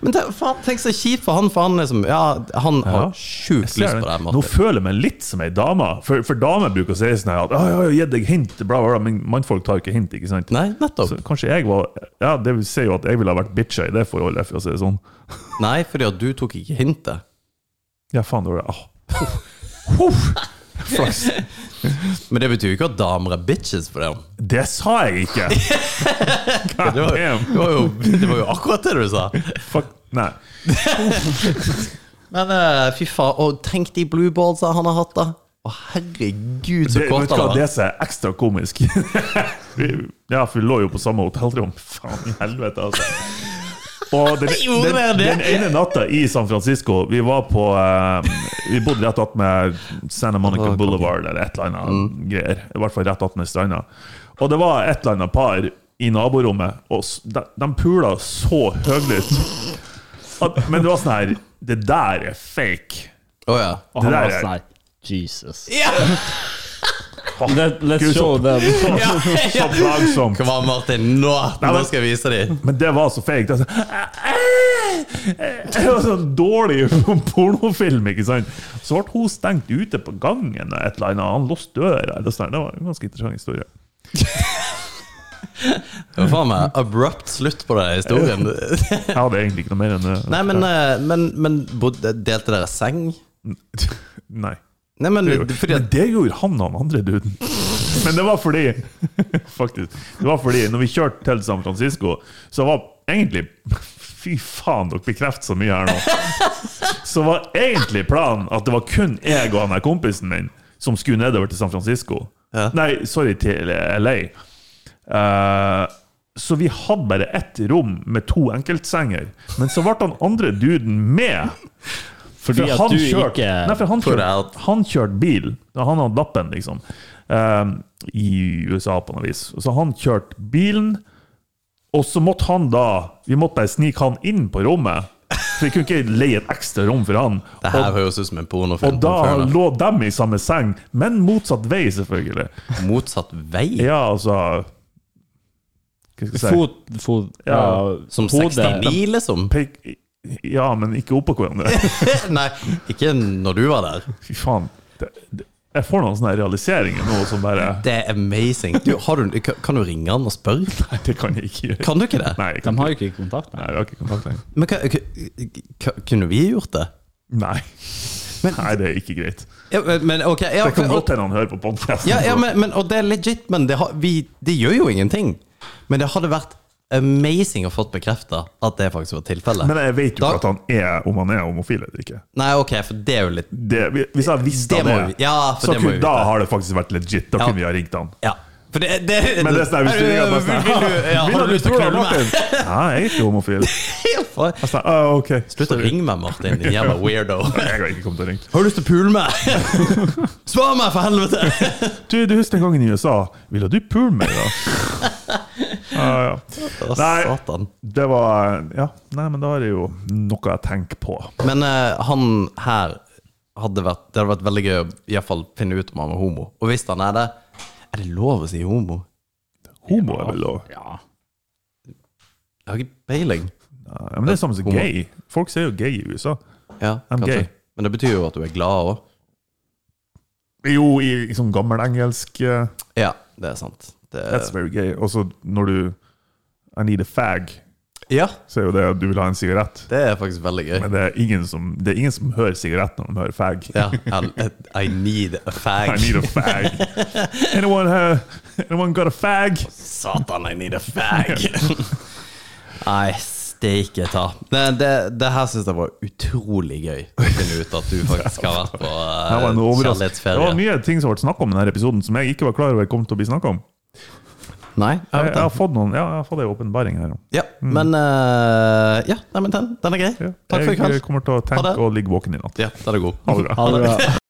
[SPEAKER 2] men tenk, faen, tenk så kjipt for han, for han liksom Ja, han har
[SPEAKER 3] Jeg
[SPEAKER 2] sjukt
[SPEAKER 3] ser
[SPEAKER 2] lyst på
[SPEAKER 3] det.
[SPEAKER 2] deg,
[SPEAKER 3] Nå
[SPEAKER 2] Martin.
[SPEAKER 3] føler jeg meg litt som ei dame, for, for damer bruker å si sånn her at «Å, jeg har jo gitt deg hint, bla, bla, bla, men mannfolk tar ikke hint, ikke sant?
[SPEAKER 2] Nei, nettopp.
[SPEAKER 3] Så kanskje jeg var Ja, det vil si jo at jeg ville ha vært bitcha i det forholdet, for å si det sånn.
[SPEAKER 2] Nei, fordi at du tok ikke hintet.
[SPEAKER 3] Ja, faen, da var det ah. Huff. Flaks.
[SPEAKER 2] Men det betyr jo ikke at damer er bitches for dem.
[SPEAKER 3] Det sa jeg ikke! God
[SPEAKER 2] Det var,
[SPEAKER 3] damn.
[SPEAKER 2] det var, jo, det var jo akkurat det du sa.
[SPEAKER 3] Fuck. Nei.
[SPEAKER 2] Men eh, fy faen, og tenk de blue ballsa han har hatt, da. Å, herregud, så
[SPEAKER 3] Det, vet
[SPEAKER 2] kort
[SPEAKER 3] du hva,
[SPEAKER 2] han
[SPEAKER 3] det
[SPEAKER 2] var.
[SPEAKER 3] som er ekstra komisk Vi- Ja, for vi lå jo på samme hotellrom. Faen i helvete, altså. Og den,
[SPEAKER 2] Gjorde dere
[SPEAKER 3] den,
[SPEAKER 2] det?
[SPEAKER 3] den ene natta i San Francisco Vi var på eh, Vi bodde rett attmed Santa Monica Boulevard eller et eller annet greier. I hvert fall rett attmed stranda. Og det var et eller annet par i naborommet, og s- de, de pula så høylytt. At- Men det var sånn her Det der er fake.
[SPEAKER 2] Å ja.
[SPEAKER 4] Og han
[SPEAKER 3] Det
[SPEAKER 4] var
[SPEAKER 3] der er-
[SPEAKER 4] sånn her Jesus.
[SPEAKER 2] Ja,
[SPEAKER 4] Let, let's
[SPEAKER 3] Gud,
[SPEAKER 4] show
[SPEAKER 3] så-
[SPEAKER 4] them.
[SPEAKER 2] ja,
[SPEAKER 3] Så
[SPEAKER 2] ja.
[SPEAKER 3] plagsomt.
[SPEAKER 2] Kom an, Martin. Nå, nå skal jeg vise dem.
[SPEAKER 3] Men det var så feigt. Altså. Det var sånn dårlig pornofilm, ikke sant? Så ble hun stengt ute på gangen, og et eller annet. han låste døra. Eller sånn. Det var en ganske interessant historie.
[SPEAKER 2] Det var faen meg abrupt slutt på den historien.
[SPEAKER 3] Jeg hadde egentlig ikke noe mer enn det.
[SPEAKER 2] Nei, men, eh, men, men bodde, delte dere seng?
[SPEAKER 3] Nei.
[SPEAKER 2] Nei, men
[SPEAKER 3] Det gjorde-
[SPEAKER 2] fordi at
[SPEAKER 3] Men det gjorde han og han andre duden. Men det var fordi Faktisk. Det var fordi når vi kjørte til San Francisco, så var egentlig Fy faen, dere bekrefter så mye her nå. Så var egentlig planen at det var kun jeg og han her kompisen min som skulle nedover til San Francisco.
[SPEAKER 2] Ja.
[SPEAKER 3] Nei, sorry, til LA. Eh, så vi hadde bare ett rom med to enkeltsenger. Men så ble han andre duden med.
[SPEAKER 4] Fordi
[SPEAKER 3] For
[SPEAKER 4] at
[SPEAKER 3] han
[SPEAKER 4] du
[SPEAKER 3] kjørte-
[SPEAKER 4] ikke
[SPEAKER 3] Nei, for han
[SPEAKER 2] For
[SPEAKER 3] kjørte
[SPEAKER 2] at-
[SPEAKER 3] han kjørte bil. Da Han hadde lappen, liksom. ehm, I USA, på noe vis. Så han kjørte bilen, og så måtte han da Vi måtte bare snike han inn på rommet. For vi kunne ikke leie et ekstra rom for han.
[SPEAKER 2] Det her høres ut som en pornofilm.
[SPEAKER 3] Og da
[SPEAKER 2] Fair enough.
[SPEAKER 3] lå dem i samme seng, men motsatt vei, selvfølgelig.
[SPEAKER 2] Motsatt vei?
[SPEAKER 3] Ja, altså Hva skal jeg si?
[SPEAKER 4] Fot, fot ja.
[SPEAKER 3] Ja.
[SPEAKER 2] Som
[SPEAKER 4] hodet.
[SPEAKER 2] 69, liksom?
[SPEAKER 3] Pek- Ja, men ikke oppå hverandre.
[SPEAKER 2] Nei, ikke når du var der.
[SPEAKER 3] Fy faen. Det, det, jeg får noen sånne realiseringer nå som bare
[SPEAKER 2] Det er amazing. Du, har du, kan du ringe han og spørre?
[SPEAKER 3] Nei, det kan jeg ikke gjøre.
[SPEAKER 2] Kan du ikke det?
[SPEAKER 3] Nei, jeg
[SPEAKER 4] De
[SPEAKER 3] kan
[SPEAKER 4] har jo ikke kontakt.
[SPEAKER 3] Nei, vi har ikke kontakt lenger.
[SPEAKER 2] Men hva- hva- hva- kunne vi gjort det?
[SPEAKER 3] Nei. Nei, det er ikke greit.
[SPEAKER 2] Ja, men ok ja,
[SPEAKER 3] Det kan
[SPEAKER 2] for,
[SPEAKER 3] godt hende han hører på podkasten.
[SPEAKER 2] ja, ja, men, men, Og det er legit, men det, har, vi, det gjør jo ingenting. Men det hadde vært amazing å fått bekrefta at det faktisk var tilfellet.
[SPEAKER 3] men jeg vet jo
[SPEAKER 2] Da-
[SPEAKER 3] ikke at han er, om han er homofil eller ikke.
[SPEAKER 2] Nei, ok, for det er jo litt
[SPEAKER 3] Det, hvis jeg hadde visst
[SPEAKER 2] Det
[SPEAKER 3] det,
[SPEAKER 2] må vi- ja, for
[SPEAKER 3] så
[SPEAKER 2] det må vi
[SPEAKER 3] kunne, da
[SPEAKER 2] vite.
[SPEAKER 3] har det faktisk vært legit. Da
[SPEAKER 2] Ja.
[SPEAKER 3] kunne vi ha ringt han.
[SPEAKER 2] Ja. For det, det,
[SPEAKER 3] Men det er sånn her, hvis du ringer han, bare
[SPEAKER 2] Vil du, ja,
[SPEAKER 3] sånn,
[SPEAKER 2] har du lyst til å knulle meg?
[SPEAKER 3] Ja, jeg er ikke homofil.
[SPEAKER 2] For-
[SPEAKER 3] Sånn, ah, ok.
[SPEAKER 2] Altså, Slutt å ringe meg, Martin, din jævla weirdo.
[SPEAKER 3] Jeg har ikke kommet til å ringe.
[SPEAKER 2] Har du lyst til å pule meg? Svar meg, for helvete!
[SPEAKER 3] Du, du husker den gangen i USA? Ville du pule meg, da? Ah, ja.
[SPEAKER 2] Å,
[SPEAKER 3] Nei.
[SPEAKER 2] satan.
[SPEAKER 3] Det var Ja, nei, men da er det jo noe jeg tenker på.
[SPEAKER 2] Men eh, han her hadde vært Det hadde vært veldig gøy å i hvert fall finne ut om han var homo. Og hvis han er det Er det lov å si homo?
[SPEAKER 3] Homo er vel lov?
[SPEAKER 4] Ja.
[SPEAKER 2] Jeg har ikke peiling.
[SPEAKER 3] Ja, men det er samme som
[SPEAKER 2] Homo.
[SPEAKER 3] gay. Folk sier jo gay i USA.
[SPEAKER 2] Ja,
[SPEAKER 3] I'm
[SPEAKER 2] kanskje.
[SPEAKER 3] gay.
[SPEAKER 2] Men det betyr jo at du er glad òg.
[SPEAKER 3] Jo, i liksom gammelengelsk eh,
[SPEAKER 2] Ja, det er sant. Det
[SPEAKER 3] That's very gay. Og så når du I need a fag,
[SPEAKER 2] ja,
[SPEAKER 3] så er jo det at du vil ha en sigarett.
[SPEAKER 2] det er faktisk veldig gøy.
[SPEAKER 3] Men det er ingen som, det er ingen som hører sigarett når de hører fag.
[SPEAKER 2] Ja, I, I need a fag.
[SPEAKER 3] I need a fag. Anyone, uh, anyone got a fag?
[SPEAKER 2] Satan, I need a fag! Nei, steike ta. Det, det, det her syns jeg var utrolig gøy. Å finne ut at du faktisk har vært på
[SPEAKER 3] Det
[SPEAKER 2] eh,
[SPEAKER 3] var, en overraskelse. det var
[SPEAKER 2] kjærlighetsferie.
[SPEAKER 3] mye ting som ble snakket om i denne episoden som jeg ikke var klar over kom til å bli snakket om.
[SPEAKER 2] Nei, jeg
[SPEAKER 3] Jeg,
[SPEAKER 2] vet
[SPEAKER 3] jeg
[SPEAKER 2] det.
[SPEAKER 3] har fått noen, ja, jeg har fått en åpenbaring her.
[SPEAKER 2] Ja, men eh, Ja, nei, men den, den er grei.
[SPEAKER 3] Ja.
[SPEAKER 2] Takk for i
[SPEAKER 3] Jeg eh,
[SPEAKER 2] kveld.
[SPEAKER 3] kommer til å
[SPEAKER 2] Ha
[SPEAKER 3] tenke
[SPEAKER 2] det.
[SPEAKER 3] og ligge våken i natt.
[SPEAKER 2] Ja, den er god.
[SPEAKER 3] Ha det bra.
[SPEAKER 4] Ha det bra.